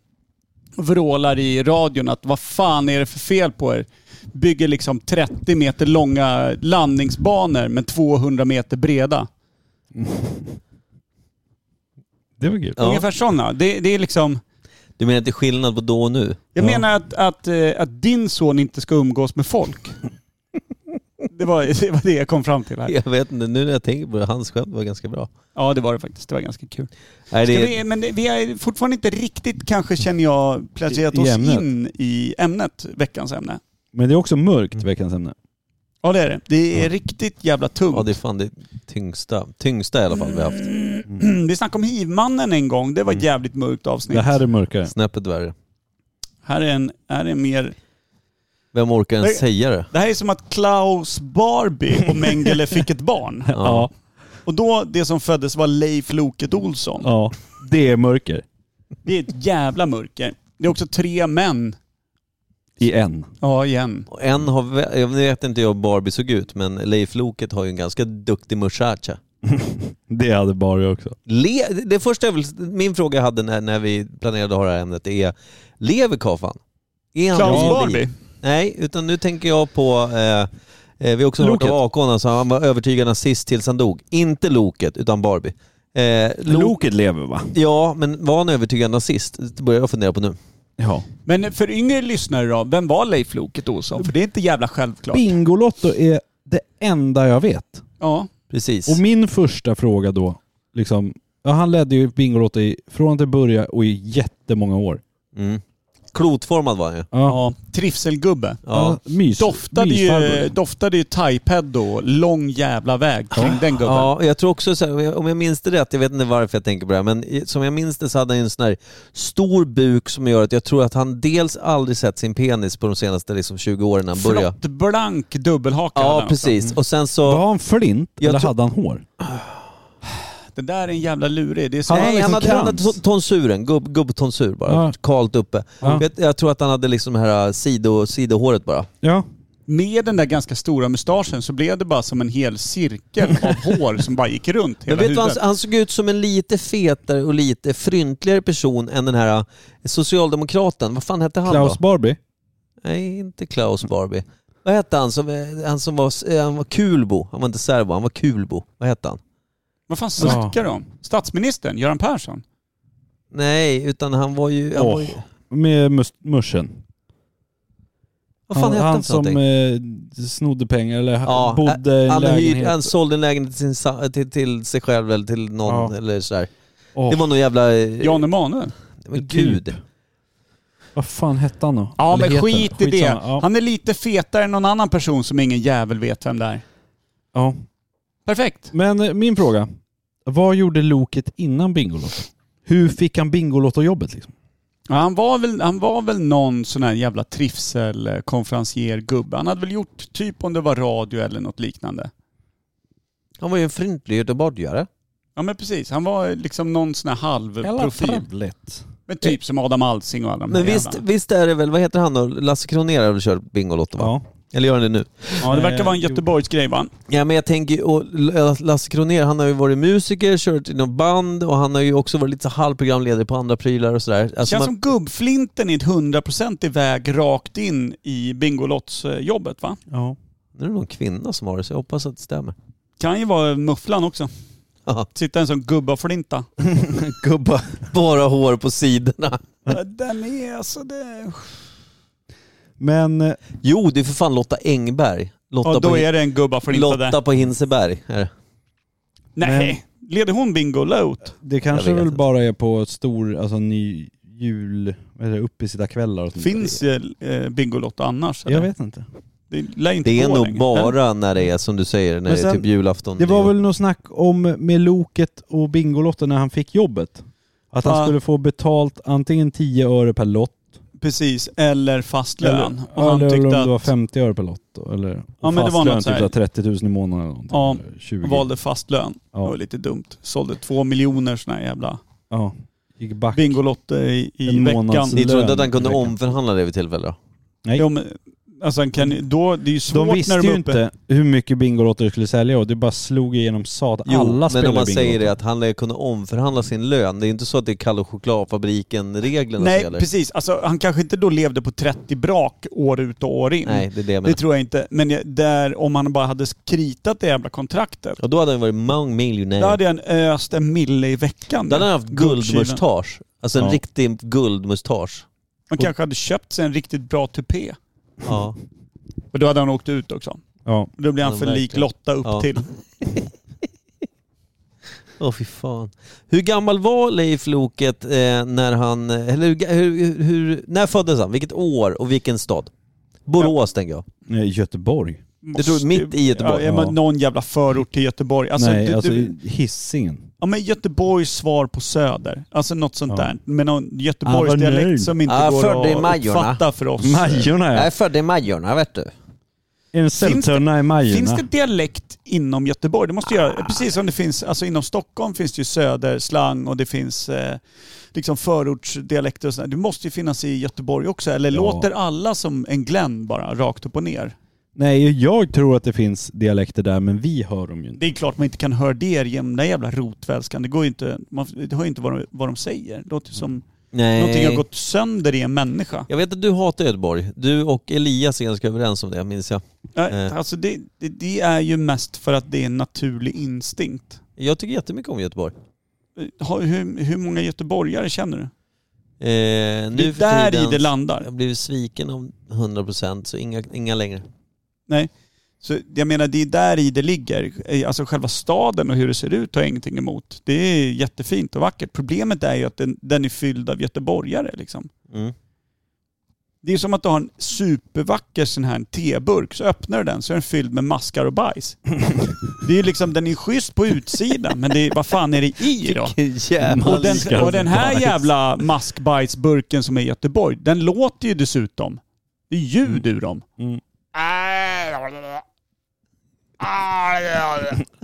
vrålar i radion att vad fan är det för fel på er? Bygger liksom 30 meter långa landningsbanor men 200 meter breda.
Det var kul.
Ja.
Ungefär sådana. Det, det är liksom...
Du menar att det är skillnad på då och nu?
Jag
Ja.
menar att, att, eh, att din son inte ska umgås med folk. Det var, det var det jag kom fram till här.
Jag vet inte, nu när jag tänker på det, hans skämt var ganska bra.
Ja, det var det faktiskt. Det var ganska kul.
Nej,
Ska
det,
vi, men det, vi är fortfarande inte riktigt, kanske känner jag, placerat
I- i
oss
ämnet.
in i ämnet, veckans ämne.
Men det är också mörkt, veckans ämne.
Ja, det är det. Det är riktigt jävla tungt.
ja, det är fan det tyngsta. Tyngsta i alla fall vi
Mm.
har haft.
Vi snackade om hivmannen en gång. Det var ett jävligt mörkt avsnitt.
Mm.
Det här är mörkare.
Snäppet värre.
Här är en, här är mer...
Vem orkar ens
Nej.
säga det?
Det här är som att Klaus Barbie och Mengele fick ett barn.
Ja.
Och då, det som föddes var Leif Loket Olsson.
ja. Det är mörker.
Det är ett jävla mörker. Det är också tre män.
I en.
Ja, igen.
Och En har, vä- jag vet inte hur Barbie såg ut, men Leif Loket har ju en ganska duktig muchacha.
Det hade bara också.
Le, det första jag vill, min fråga jag hade när, när vi planerade att ha det här ämnet är, lever Kafan? Är han
Klaus
vid liv?
Barbie.
Nej, utan nu tänker jag på, eh, eh, vi har också
Loket.
hört av Akon, alltså, han var övertygad nazist tills han dog. Inte Loket, utan Barbie. Eh, Lo-
Loket lever va?
Ja, men var han övertygad nazist? Det börjar jag fundera på nu.
Ja.
Men för yngre lyssnare då, vem var Leif Loket Olsson? För det är inte jävla självklart.
Bingolotto är det enda jag vet.
Ja.
Precis.
Och min första fråga då, liksom, ja, han ledde ju Bingolotto i, från till början och i jättemånga år.
Mm. Klotformad var han ju.
Ja.
ja. Trivselgubbe.
Ja. eh,
mys,
Doftade ju,
mysfarbror.
doftade ju thaipedo lång jävla väg kring den gubben.
Ja, jag tror också så här, om jag- om jag minns det rätt, jag vet inte varför jag tänker på det här, men i- som jag minns det så hade han ju en sån här stor buk som gör att jag tror att han dels aldrig sett sin penis på de senaste liksom, 20 åren när han började. Mm.
Flott blank dubbelhaka alltså. hade
Ja,
han
precis. Och sen så...
Var han flint
Jag
eller
tror-
hade han hår?
också. Det där är en jävla lurig. Det är så
Han har
Nej, han
liksom
hade, han hade
krans.
ton- tonsuren, gubb- gubbtonsur bara.
Ja.
Kalt uppe.
Ja.
Jag, jag tror att han hade liksom det här äh, sido, sidohåret bara.
Ja.
Med den där ganska stora mustaschen så blev det bara som en hel cirkel av hår som bara gick runt
Men
hela
vet du,
huvudet.
han, han såg ut som en lite fetare och lite fryntligare person än den här äh, socialdemokraten. Vad fan hette han då?
Klaus Barbie?
Nej, inte Klaus Barbie. Vad hette han som, eh, han som var, eh, han var kulbo? Han var inte serbo, han var kulbo. Vad hette han?
Vad fan snackar du om? Statsministern, Göran Persson?
Nej, utan han var ju... Han var ju
Åh, Med mus- muschen.
vad fan
han
hette han,
han
för någonting?
som eh, snodde pengar eller
Ja,
bodde i en
han, hyr,
lägenhet.
han sålde en lägenhet till, sin, sa- till, till sig själv eller till någon
Ja.
eller sådär.
Åh,
Det var någon jävla... eh,
Jan Emanuel?
men
typ.
gud.
Vad fan hette han då?
Ja
Eller
men
heter
skit i
han?
det.
Skitsamma, Ja.
Han är lite fetare än någon annan person som ingen jävel vet vem det är.
ja.
Perfekt.
Men eh, min fråga. Vad gjorde Loket innan Bingolotto? Hur fick han Bingolotto-jobbet liksom?
Ja, han, var väl, han var väl någon sån här jävla trivselkonferencier-gubbe. Han hade väl gjort typ om det var radio eller något liknande.
Han var ju en fryntlig göteborgare.
Ja men precis, han var liksom någon sån här halvprofil.
trevligt.
Men typ som Adam Alsing och alla de
Men
här
visst,
jävlarna.
visst är det väl, vad heter han då? Lasse Kronér har väl kört Bingolotto va?
Ja.
Eller gör han det nu?
Ja det verkar vara en
Eh, jo.
Göteborgsgrej va?
Ja men jag tänker, och L- Lasse Kronér han har ju varit musiker, kört i någon band och han har ju också varit lite så halvprogramledare på andra prylar och sådär.
Det
Alltså
känns som
man,
gubbflinten är ett hundraprocentig väg rakt in i Bingolotts-jobbet va?
Ja.
Nu är det någon kvinna som har det så jag hoppas att det stämmer.
Kan ju vara mufflan också.
Ja.
Sitta en sån gubbaflinta.
Gubba. Bara hår på sidorna.
Den är alltså det...
Men eh,
Jo, det är för fan Lotta Engberg. Lotta,
Ja
på,
då
Hin-
är det en gubbaflinta där.
Lotta på Hinseberg. Är det.
Nej, leder hon Bingolot?
det kanske
vet
väl
inte.
bara är på stor, alltså ny jul, eller uppe i sina kvällar och sånt där.
Finns ju, eh, Bingolot annars?
Jag
Eller?
vet inte.
Det lär inte
det är
gå
nog
längre. Eller?
bara när det är som du säger, när
Men
det är
sen-
typ julafton.
Det var
nyår.
väl något snack om med Loket och Bingolotto när han fick jobbet. Att han
Ja.
skulle få betalt antingen 10 öre per lott
precis. Eller fast lön.
Eller, ja,
Och han
eller om
tyckte
det var
att...
50 öre per lott. då, Eller
Ja, men det var
fast lön,
något så här.
typ så här 30 000 i månaden eller någonting.
Ja,
eller 20.
Valde fast lön. Det
ja,
var lite dumt. Sålde två miljoner såna här jävla
ja. Gick back.
Bingolotter i, i
En
veckan.
månads-
Ni trodde att han kunde
Veckan.
omförhandla det vid tillfälle då?
Nej.
Jo, men, alltså, han kan, då, det är ju svårt
De visste
när de är
ju
uppe.
inte hur mycket Bingolotto de skulle sälja och det bara slog igenom sad.
Jo,
Alla
men
spelar
om man säger
Bingolotto.
det att han lär kunna omförhandla sin lön. Det är inte så att det är Kalle Chokladfabriken-reglerna
Nej,
som gäller.
precis. Alltså, han kanske inte då levde på 30 brak år ut och år in.
Nej, det är det jag
det
menar.
tror jag inte. Men jag- där, om han bara hade kritat det jävla kontraktet.
Och då hade han varit mångmiljonär.
Då hade han öst en mille i veckan.
Då hade han haft
Guldkilen.
guldmustasch. Alltså en
Ja.
riktig guldmustasch.
Man kanske hade köpt sig en riktigt bra tupé.
Ja.
Och då hade han åkt ut också.
Ja.
Då blir han
Ja,
för lik
verkligen.
Lotta upp
Ja.
till.
Åh fy fan. Hur gammal var Leif Loket eh, när han... Eller hur, hur, hur, när föddes han? Vilket år och vilken stad? Borås tänker jag.
Nej, Göteborg.
Det tror jag, mitt i
Ja,
Göteborg.
är
Ja.
man någon jävla förort till Göteborg. Alltså,
Nej,
du,
alltså
du,
Hisingen.
ja, men Göteborgs svar på Söder. Alltså något sånt
Ja.
där. Med någon
Ah,
Göteborgs
vad nöjd.
dialekt som inte
Ah, för det
går
är
att
Majorna.
fatta för oss.
Majorna
Jag är
ja.
född i Majorna vet du.
En sältörna i Majorna.
Finns det dialekt inom Göteborg? Det måste göra, precis som det finns, alltså inom Stockholm finns det ju söderslang och det finns eh, liksom förortsdialekter och sådär. Det måste ju finnas i Göteborg också. Eller
Ja.
låter alla som en Glenn bara, rakt upp och ner?
Nej, jag tror att det finns dialekter där men vi hör dem ju inte.
Det är klart man inte kan höra det i den där jävla rotvälskan. Det går ju inte, man det hör ju inte vad de, vad de säger. Det låter som någonting har
Nej.
gått sönder i en människa.
Jag vet att du hatar Göteborg. Du och Elias är ganska överens om det minns jag.
Nej,
Eh.
Alltså det, det, det är ju mest för att det är en naturlig instinkt. Eh,
Jag tycker jättemycket om Göteborg. Eh,
Har- Hur, hur många göteborgare känner du?
Eh, nu
Det är
för
där i
tiden-
det landar.
Jag blev sviken om 100% så inga, inga längre.
Så jag menar, det är där i det ligger. Alltså själva staden och hur det ser ut har jag ingenting emot. Det är jättefint och vackert. Problemet är ju att den, den är fylld av göteborgare liksom.
Mm.
Det är som att du har en supervacker sån här teburk, så öppnar du den så är den fylld med maskar och bajs. det är ju liksom, den är schysst på utsidan, men det är, vad fan är det i då? Och den, och den här jävla maskbajsburken som är i Göteborg, den låter ju dessutom. Det är ljud ur dem.
Mm.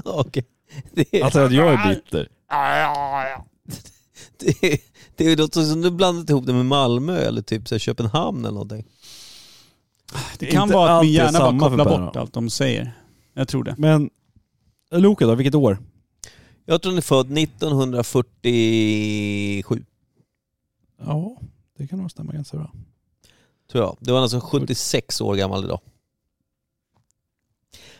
Okej. Det, är-
Alltså att jag är bitter.
det, är- det är något som du blandat ihop det med Malmö eller typ så här, Köpenhamn eller någonting.
Det
är
kan
inte
vara att min
alltid
hjärna bara
samma för
kopplar
Per
bort
då.
allt de säger. Jag tror det.
Men Loka då, vilket år?
Jag tror han är född 1947.
Ja, det kan nog stämma ganska bra.
Tror jag. Det var alltså 76 år gammal idag.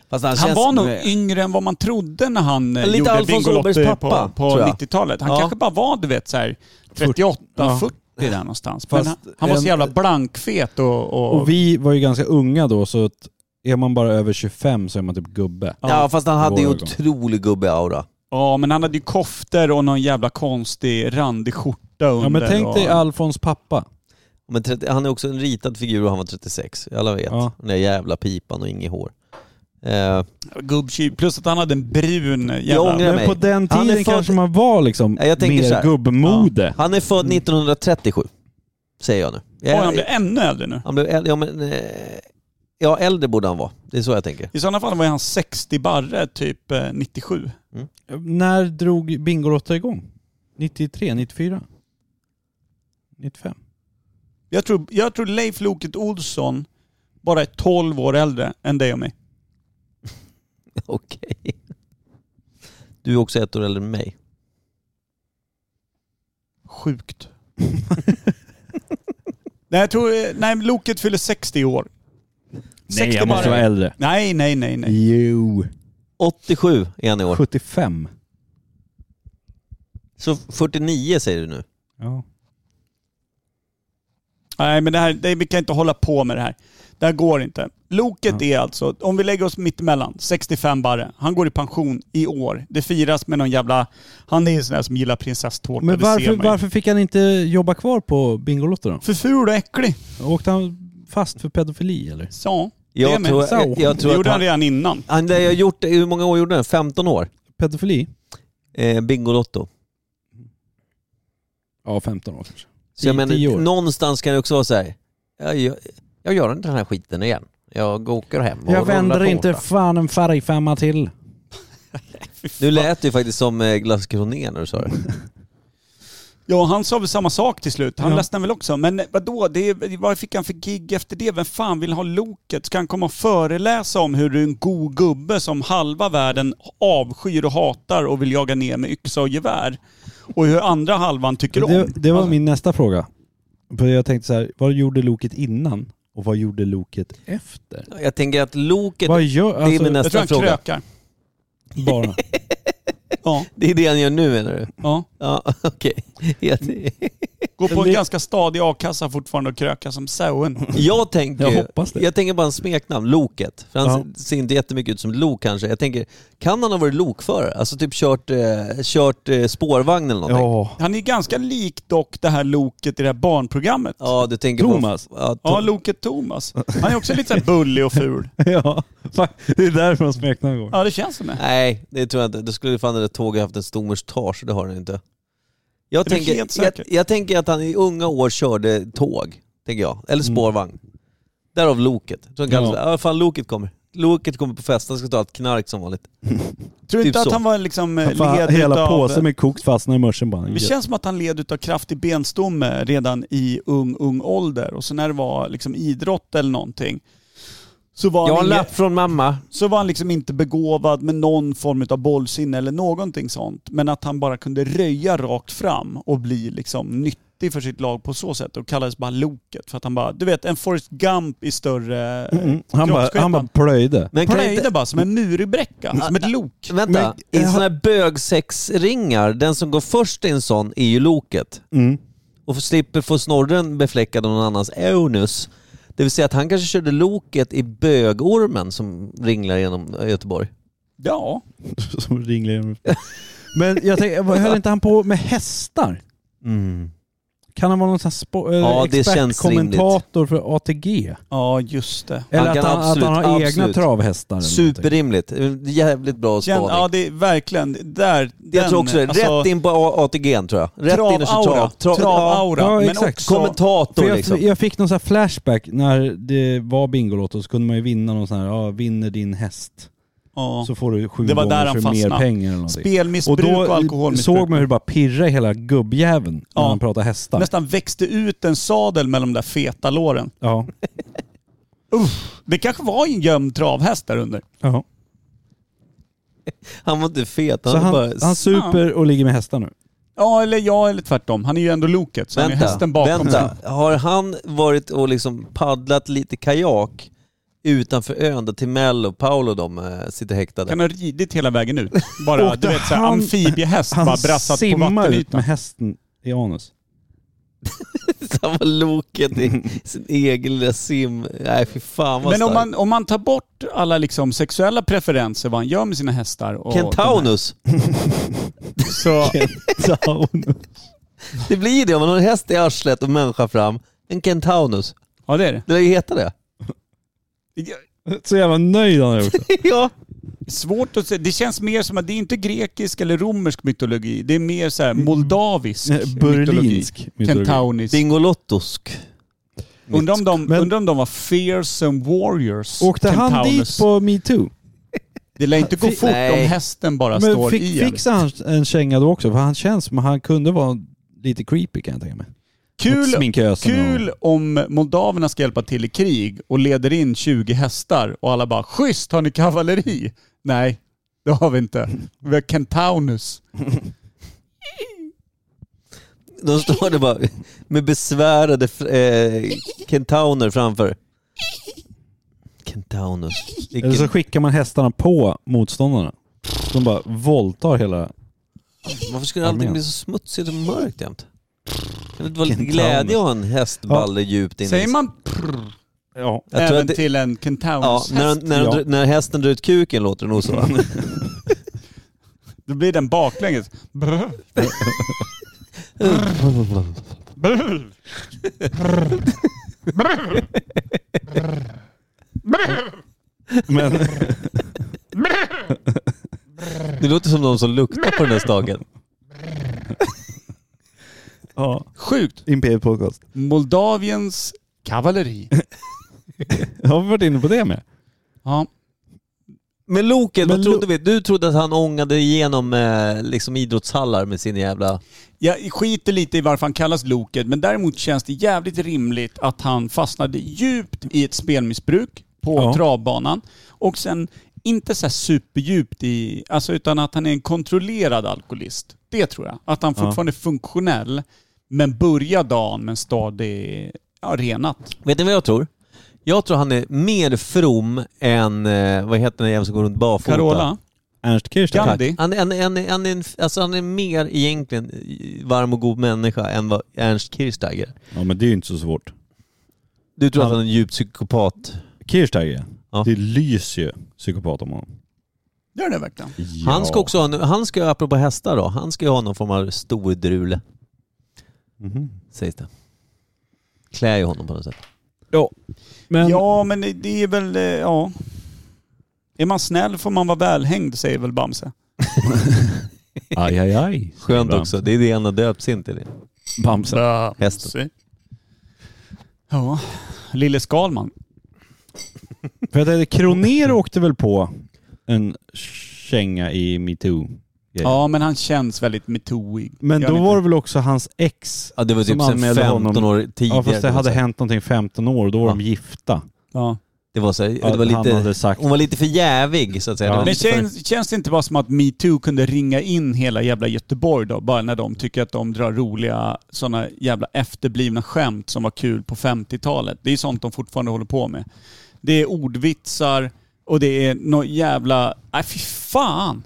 Fast han,
Han
känns
var nog yngre än vad man trodde när han eh,
Lite
gjorde
Alfons Åbergs
Bingolotto
pappa,
på, på
tror jag.
90-talet. Han
Ja.
kanske bara var du vet så här 38,
Ja.
40 där någonstans. Men
Fast
han, han var så
en-
jävla blankfet och... och,
Och vi var ju ganska unga då så att är man bara över 25 så är man typ gubbe.
Ja fast han hade ju
Våra ögon.
otrolig gubbe-aura.
Ja, men han hade ju koftor och någon jävla konstig randig skjorta under.
Ja men tänk
och,
dig Alfons pappa.
Men 30, han är också en ritad figur och han var 36. Alla vet.
Ja.
Den där jävla pipan och inget hår. Eh,
Gubbtjuv. Plus att han hade en brun
Jag
jävla...
ångrar
Men
mig.
på den
Han är
tiden
född-
kanske man var liksom
Ja, jag tänker så
mer
här.
gubbmode.
Han är född 1937, säger jag nu.
Mm. Oj,
Jag,
han blev ännu äldre nu.
han blev äldre, ja, men, eh, ja äldre borde han vara. Det är så jag tänker.
I sådana fall var ju han 60 barre typ eh, 97.
När drog Bingolotto igång? 93, 94? 95?
Jag tror, jag tror Leif Loket Olsson bara är 12 år äldre än dig och mig.
Okej. Du är också ett år äldre än mig.
Sjukt. nej, jag tror, eh, nej, Loket fyller 60 i år. 60 barre.
äldre.
Nej, nej, nej, nej.
Jo.
87 är han i år.
75.
Så 49 säger du nu.
Ja.
Nej, men det här, det, vi kan inte hålla på med det här. Det här går inte. Loket är alltså, om vi lägger oss mittemellan, 65 barre. Han går i pension i år. Det firas med någon jävla... Han är ju sån där som gillar prinsesstårta,
Men
det ser
varför,
man ju.
varför fick han inte jobba kvar på Bingolotto då?
För ful och äcklig.
Åkte han fast för pedofili eller?
Så. Det
Jag
med
tror,
så.
jag, jag
det
tror att
gjorde han
han,
redan innan.
han, det jag har gjort, hur många år gjorde han? 15 år?
Pedofili?
Eh, Bingolotto.
Ja, 15 år kanske.
Så Så jag
I tio år.
menar, någonstans kan det också vara så här. Jag, jag, jag gör inte den här skiten igen. Jag åker hem och
Jag vänder
rullar på,
inte
va?
fan en färgfemma till.
Nu lät det ju faktiskt som eh, Glass Kronér när du sa det.
Ja, han sa väl samma sak till slut. Han
Ja.
ledsnade väl också. Men vadå, det är, vad fick han för gig efter det? Vem fan vill ha Loket? Ska han komma och föreläsa om hur du är en god gubbe som halva världen avskyr och hatar och vill jaga ner med yxa och gevär? Och hur andra halvan tycker om?
Det, det
Alltså.
var min nästa fråga. För jag tänkte så här, vad gjorde Loket innan och vad gjorde Loket efter?
Jag tänker att loket,
Vad gör,
det är
alltså,
min
Jag tror
nästa
han
fråga.
krökar.
bara.
Ja,
Det är det han gör nu menar du?
ja.
Ja, okej.
Går på en
Det-
ganska stadig a-kassa fortfarande och krökar som sauen.
Jag tänker,
Jag hoppas det.
jag tänker bara en smeknamn, Loket. För han
Ja.
ser inte jättemycket ut som ett lok kanske. Jag tänker, kan han ha varit lokförare? Alltså typ kört, eh, kört eh, spårvagn eller någonting? Ja.
Ja,
Han är ganska lik dock det här Loket i det här barnprogrammet. Ja,
du tänker
Thomas?
på... Ja, Tom-
Loket Thomas. Han är också lite så här bullig och ful.
ja. Fuck, det är därför de smeknamn går.
Ja, det känns som det.
Nej, det tror jag inte. Då skulle fan det där tåget haft en stomerstage, det har den inte. Jag
Är du
tänker,
helt
jag,
säker?
jag tänker att han i unga år körde tåg, tänker jag. Eller
Mm.
spårvagn. Därav loket. Så han kallas
Ja.
det. ja. fan loket kommer. Loket kommer på fest, han ska ta ett knark som vanligt.
Tror du
Typ
inte
så.
att han var liksom eh,
Fan,
led
hela
utav-
påsen med kokt fastnar i mörsen bara.
Det känns som att han led utav kraftig benstomme redan i ung, ung ålder. Och så när det var liksom idrott eller någonting så var,
Jag har
han
en
ingen-
lapp från mamma.
så var han liksom inte begåvad med någon form utav bollsinne eller någonting sånt. Men att han bara kunde röja rakt fram och bli liksom nyttig för sitt lag på så sätt. Och kallades bara Loket. För att han bara, du vet en Forrest Gump i större
Mm, han, bara, han
kroppsskepnad.
bara plöjde.
Men kan
Plöjde
inte,
bara som en muribräcka, som ett lok.
vänta,
Men-
Eh,
i sådana här bögsexringar, den som går först i en sån är ju loket.
Mm.
Och slipper få snorren befläckad av någon annans eunus. Det vill säga att han kanske körde loket i bögormen som ringlar genom Göteborg.
Ja.
Som ringlar genom- Men jag tänkte, vad- höll inte han på med hästar? Kan han vara någon sån här spo-
Mm. Ja,
ja,
det känns
expertkommentator för ATG?
ja, just det.
Eller
Han
att,
kan
han,
absolut-
att han har egna
absolut.
travhästar? eller någonting.
Superrimligt. Jävligt bra
Känn,
spaning.
ja, det är verkligen... Där, alltså,
jag tror också det. Rätt in på A- ATG'n tror jag. Rätt in och kör
Travaura.
trav. Tra-
Travaura.
Ja,
men
exakt.
ja.
också...
För
Kommentator
jag,
liksom.
jag fick någon sån här flashback när det var Bingolotto så kunde man ju vinna någon sån här, ja, vinner din häst
Ja.
så får du sju
Det var där
gånger
han
så mer
fastnade.
pengar eller någonting. Och
Spelmissbruk och,
då
alkoholmissbruk.
såg man hur det bara pirrade i hela gubbjäveln när
Ja.
han pratade hästar.
Nästan växte ut en sadel mellan de där feta låren.
Ja.
Det kanske var en gömd travhäst där under.
ja.
Han var inte fet. Han
Så
var
han,
bara...
han super och ligger med hästar nu.
Ja, eller ja, eller tvärtom. Han är ju ändå loket, så han är hästen bakom sig.
vänta. Har han varit och liksom paddlat lite kajak utanför ön där Timell och Paolo och de eh, sitter häktade?
Kan ha ridit hela vägen ut. Bara,
Och
du vet, så här,
han-
amfibiehäst
Han
bara brassat på
simmar ut
vattenytan.
med hästen i anus.
Han var loket i sin egen lilla sim. Nej fy fan vad
Men om
starkt.
man, om man tar bort alla liksom sexuella preferenser, vad han gör med sina hästar och...
Kentaunus.
Så,
Det blir ju det om man har en häst i arslet och människa fram. En kentaunus.
ja, det är det.
Det lär ju heta det.
Så jävla nöjd han är också.
ja.
Svårt att säga. Det känns mer som att det är inte grekisk eller romersk mytologi. Det är mer så här moldavisk
Mm. Nej, Berlinsk mytologi.
mytologi. Kentaunisk.
Bingolottosk.
Undrar om, de,
Men-
undrar om de var fearsome warriors.
Åkte han
Kentaunus.
dit på metoo?
Det lär inte gå
Fi-
fort
Nej.
om hästen bara
Men
står
fick,
i en.
fixade han en känga då också? För han känns som han kunde vara lite creepy kan jag tänka mig. Mot
Kul,
Sminkösen
kul
Och,
om moldaverna ska hjälpa till i krig och leder in 20 hästar och alla bara “Schysst, har ni kavalleri?” Nej, det har vi inte. Vi har Kentaunus.
De står där bara med besvärade eh, kentauner framför. Kentaunus. Vilken-
eller så skickar man hästarna på motståndarna. De bara våldtar hela...
Varför skulle allting
Armén.
bli så smutsigt och mörkt jämt? Kan det inte vara lite
Kentaunus.
glädje att ha en hästballe djupt inne i
Säger
sig?
man
Ja.
Jag tror
även
att det,
till en
ja,
Kentaunus-häst?
när, den- när, den
ja.
dr- när hästen drar ut kuken låter det nog så.
Då blir den baklänges. Brr. Brr.
Men,
Det låter som någon som luktar på den där staken.
Ja.
Sjukt.
Imperiet Podcast.
Moldaviens kavalleri.
Har vi varit inne på det med?
Ja.
Men Loket,
Men
vad trodde vi? Du trodde att han ångade igenom eh, liksom idrottshallar med sin jävla...
Jag skiter lite i varför han kallas Loket, men däremot känns det jävligt rimligt att han fastnade djupt i ett spelmissbruk på
Ja.
travbanan. Och sen inte så här superdjupt i, alltså utan att han är en kontrollerad alkoholist. Det tror jag. Att han fortfarande är funktionell, men börjar dagen med en stadig, ja renat.
Vet ni vad jag tror? Jag tror han är mer from än, eh, vad heter den jäveln som går runt barfota?
Carola,
Ernst Kirchsteiger?
Gandhi.
Han, han, han, han, är en, alltså han är mer egentligen varm och god människa än vad Ernst Kirchsteiger.
Ja men det är ju inte så svårt.
Du tror att
Han-
han är en djup psykopat?
Kirchsteiger,
Ja.
det lyser ju psykopat om honom.
Gör det verkligen.
Han ska också ha, en- han ska, apropå hästar då, han ska ju ha någon form av stordrule,
Mhm.
sägs det. Klär ju honom på något sätt.
Men
Ja, men det- det är väl, eh, ja. Är man snäll får man vara välhängd, säger väl Bamse.
aj aj aj.
Skönt
Bamse.
också, det är det han har döpts in till.
Bamse.
Hästen.
Ja, Lille Skalman.
För jag tänkte, Kroner åkte väl på en känga i metoo.
Ja, men han känns väldigt metooig.
Men
Gör
då
han
var det
inte?
väl också hans ex.
Ja, det var
Som
typ sen
anmälde
15
honom.
år tidigare.
Ja fast det
på något
hade
sätt.
hänt någonting 15 år och då var
Ja.
de gifta.
Ja.
Det var så, här, det
Att
var
han hade
lite,
sagt
hon var lite för jävig så att säga.
Ja.
Det var
Men
lite för,
känns, känns det inte bara som att metoo kunde ringa in hela jävla Göteborg då? Bara när de tycker att de drar roliga sådana jävla efterblivna skämt som var kul på 50-talet. Det är sånt de fortfarande håller på med. Det är ordvitsar och det är nå jävla... Nej fy fan!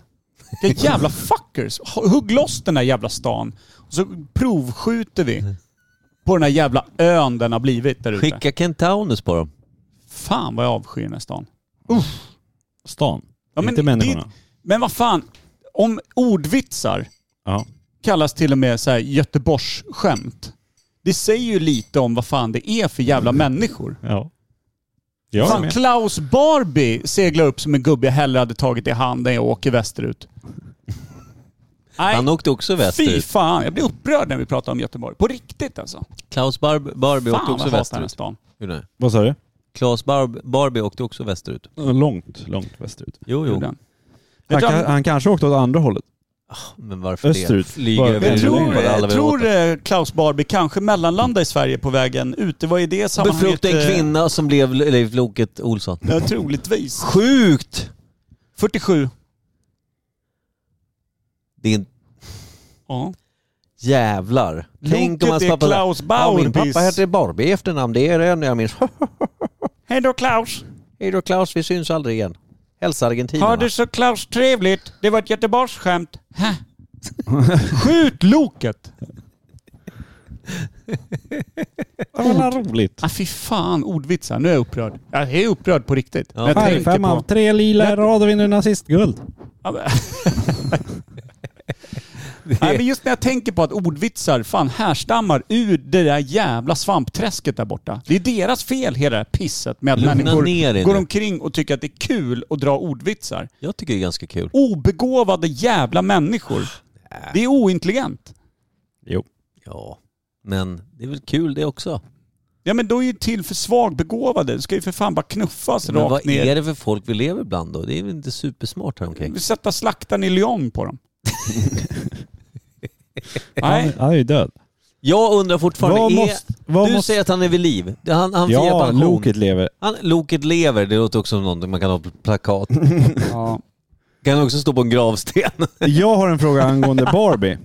Vilka jävla fuckers! Hugg loss den där jävla stan. Och så provskjuter vi på den där jävla ön den har blivit där ute.
skicka Kentaunus på dem.
Fan vad jag avskyr den här stan.
stan.
Ja, men
inte människorna.
det- Men vad fan, om ordvitsar
Ja.
kallas till och med så här Göteborgsskämt. Det säger ju lite om vad fan det är för jävla människor.
Ja. Jag är
Fan,
med.
Klaus Barbie seglar upp som en gubbe jag hellre hade tagit i handen jag åker västerut. Nej,
Han åkte också
fy
västerut.
fan. Jag blir upprörd när vi pratar om Göteborg. På riktigt alltså.
Klaus Barb, Barbie
Fan vad
åkte
jag
också
hatar den här
västerut.
stan.
Gjorde han?
Vad sa du?
Klaus Barb, Barbie åkte också västerut.
Långt, långt västerut.
Jo,
Gjorde
jo.
den.
Han,
Jag tror,
kan- han kanske åkte åt andra hållet.
Men varför
Österut.
det? Flyga
Bara-
över
jag
det
tror,
Europa, alla
jag
vill åt
tror
det.
eh, Klaus Barbie kanske mellanlandade i Sverige på vägen ut. Det var i det sammanhanget...
Befrukta en
eh,
kvinna som blev Leif Loket Olsson.
Ja, troligtvis.
Sjukt!
47.
Det är en
Ja.
jävlar. Tänk om hans
är
pappa...
Klaus
ja, min
Bauerbis.
pappa heter Barbie i efternamn, det är det enda jag minns.
Hej då Klaus!
Hej då Klaus, vi syns aldrig igen. Hälsa Argentina.
Har du så Klaus trevligt? Det var ett Göteborgsskämt. Hä? Skjut loket!
Vad roligt.
Ah, fy fan, ordvitsar. Nu är jag upprörd. Jag är upprörd på riktigt.
Ja.
När jag
Färg,
tänker
fem
på-
av tre lila i rad och vinner nazistguld.
Ja, men- Nej, men just när jag tänker på att ordvitsar fan härstammar ur det där jävla svampträsket där borta. Det är deras fel hela det här pisset med att
Lugna ner
människor
dig
går
nu.
omkring och tycker att det är kul att dra ordvitsar.
Jag tycker det är ganska kul.
Obegåvade jävla människor.
Ah.
Det är ointelligent.
Jo.
Ja, men det är väl kul det också.
Ja men då är ju till för svagbegåvade. Du ska ju för fan bara knuffas
Men
rakt
vad
ner.
är det för folk vi lever bland då? Det är väl inte supersmart häromkring.
Sätta slaktan i Lyon på dem. Nej.
Han är ju död.
Jag undrar fortfarande,
Vad
är,
måste- vad
du
måste-
säger att han är vid liv. Det- Han, han får ge
Ja,
pension.
Loket lever.
Han, loket lever, det låter också som någonting man kan ha på plakat.
Ja.
Kan också stå på en gravsten.
Jag har en fråga angående Barbie.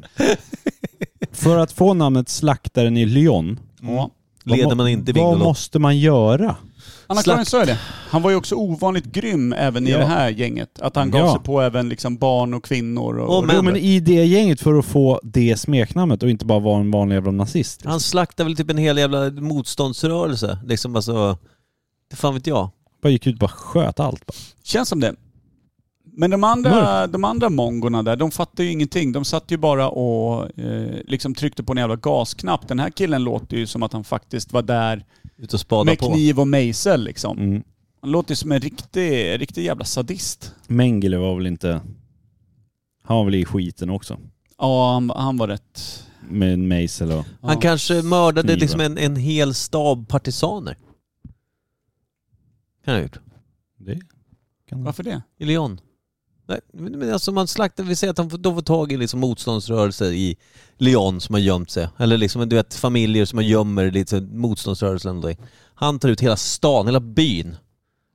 För att få namnet Slaktaren i Lyon, vad
Leder
må-
man inte
vad
Bingolotto.
måste man göra?
Anna-Karin
Slakt.
sa ju det. Han var ju också ovanligt grym även i
Ja.
det här gänget. Att han gav
Ja.
sig på även liksom barn och kvinnor. Och,
Och
och
män.
Jo men i det gänget för att få det smeknamnet och inte bara vara en vanlig jävla nazist.
Han slaktar väl typ en hel jävla motståndsrörelse. Liksom alltså, det fan vet jag.
Bara gick ut och bara sköt allt. Bara.
Känns som det. Men de andra, de andra mongorna där, de fattade ju ingenting. De satt ju bara och eh, liksom tryckte på en jävla gasknapp. Den här killen låter ju som att han faktiskt var där
Ut och spada
med
på.
kniv och mejsel liksom.
Mm.
Han låter ju som en riktig, riktig jävla sadist.
Mengele var väl inte... Han var väl i skiten också.
Ja, han, han var rätt...
med en mejsel och...
Han
Ja.
kanske mördade
Knivar.
liksom en, en hel stab partisaner. Kan han ha gjort.
Det kan
Varför det?
I Lyon. Nej, men men alltså man slaktar, vi säger att han får, de får tag i liksom motståndsrörelser i Lyon som har gömt sig. Eller liksom du vet familjer som man gömmer lite motståndsrörelser eller någonting. Han tar ut hela stan, hela byn.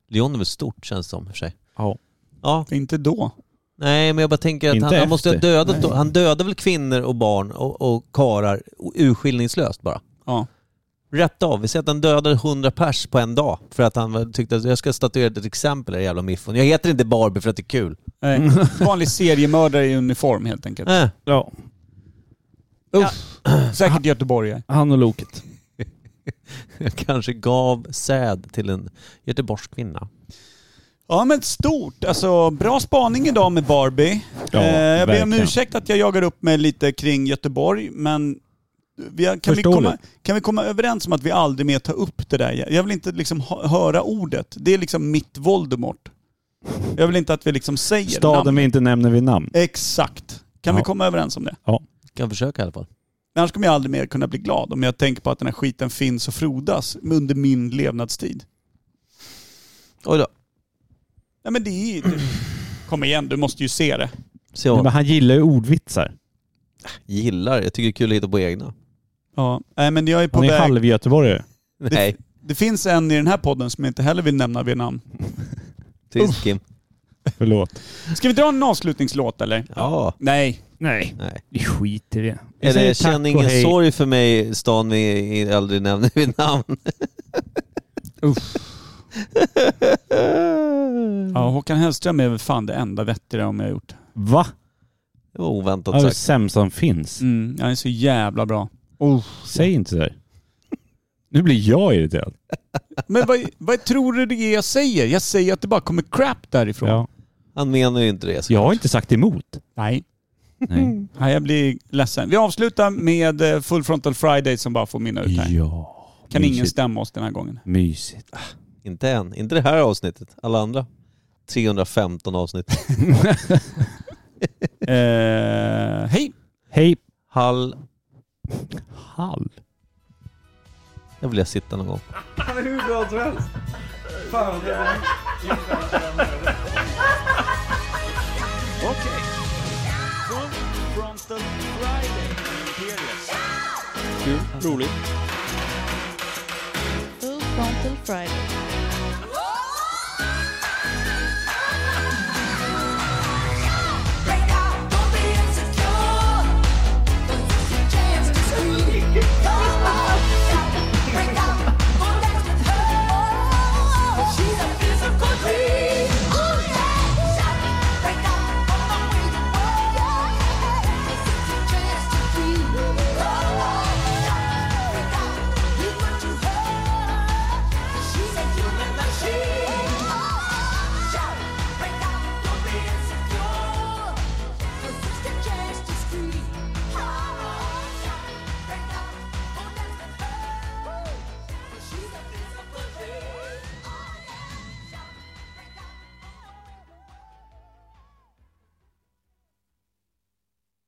Lyon är väl stort känns det som i och för sig.
Ja.
Ja,
Inte då.
nej men jag bara tänker att
Inte
han, han måste ha
efter.
dödat då.
Nej.
Han dödar väl kvinnor och barn och, och karar urskillningslöst bara.
Ja.
Rätt av. Vi säger att han dödade 100 pers på en dag för att han väl tyckte att jag ska statuera ett exempel i det här jävla miffon. Jag heter inte Barbie för att det är kul.
Nej. Vanlig seriemördare i uniform helt enkelt.
Äh.
Ja.
Uff. Säkert göteborgare.
Han och Loket.
Jag kanske gav säd till en göteborgsk kvinna.
Ja men stort. Alltså bra spaning idag med Barbie.
Ja,
eh, jag ber om
verkligen.
ursäkt att jag jagar upp mig lite kring Göteborg men vi har, kan, vi
Förståeligt.
komma, kan vi komma överens om att vi aldrig mer tar upp det där? igen? Jag vill inte liksom hö- höra ordet. Det är liksom mitt Voldemort. Jag vill inte att vi liksom säger
Staden
namn.
vi inte nämner vid namn.
Exakt. Kan vi
Ja.
komma överens om det?
Kan försöka i alla fall.
Annars kommer jag aldrig mer kunna bli glad om jag tänker på att den här skiten finns och frodas under min levnadstid.
Oj då.
Nej men det är ju... Kom igen, du måste ju se det.
Så
Nej,
jag
Men han gillar ju ordvitsar.
gillar, jag tycker det är kul att hitta på egna.
Ja. Nej men jag är på
Han är
väg...
halvgöteborgare.
Nej,
Det finns en i den här podden som jag inte heller vill nämna vid namn.
tyst Kim.
Förlåt.
Ska vi dra en avslutningslåt eller?
Ja.
Nej.
Nej,
Nej.
vi skiter i det. Vi
Är
säger
det
tack
känn
och
ingen
hej.
sorg för mig, stan vi i- aldrig nämner vid namn.
Ja, Håkan Hellström är väl fan det enda vettiga om jag har gjort.
Va?
Det var oväntat
Ja, Det är
sagt.
sämst som finns.
Mm, han är så jävla bra.
Säg inte sådär. Nu blir jag irriterad.
Men vad, vad tror du det är jag säger? Jag säger att det bara kommer crap därifrån.
Ja.
Han menar ju inte det. så.
Jag har inte sagt emot.
Nej.
Nej.
Nej, jag blir ledsen. Vi avslutar med eh, Full Frontal Friday som bara får minna ut här.
Ja.
Kan ingen
mysigt.
stämma oss den här gången.
Mysigt.
Inte än. Inte det här avsnittet. Alla andra. 315 avsnitt.
Eh, hej!
Hej.
Hall.
Hall.
Jag vill jag sitta någon gång.
Full Frontal Friday.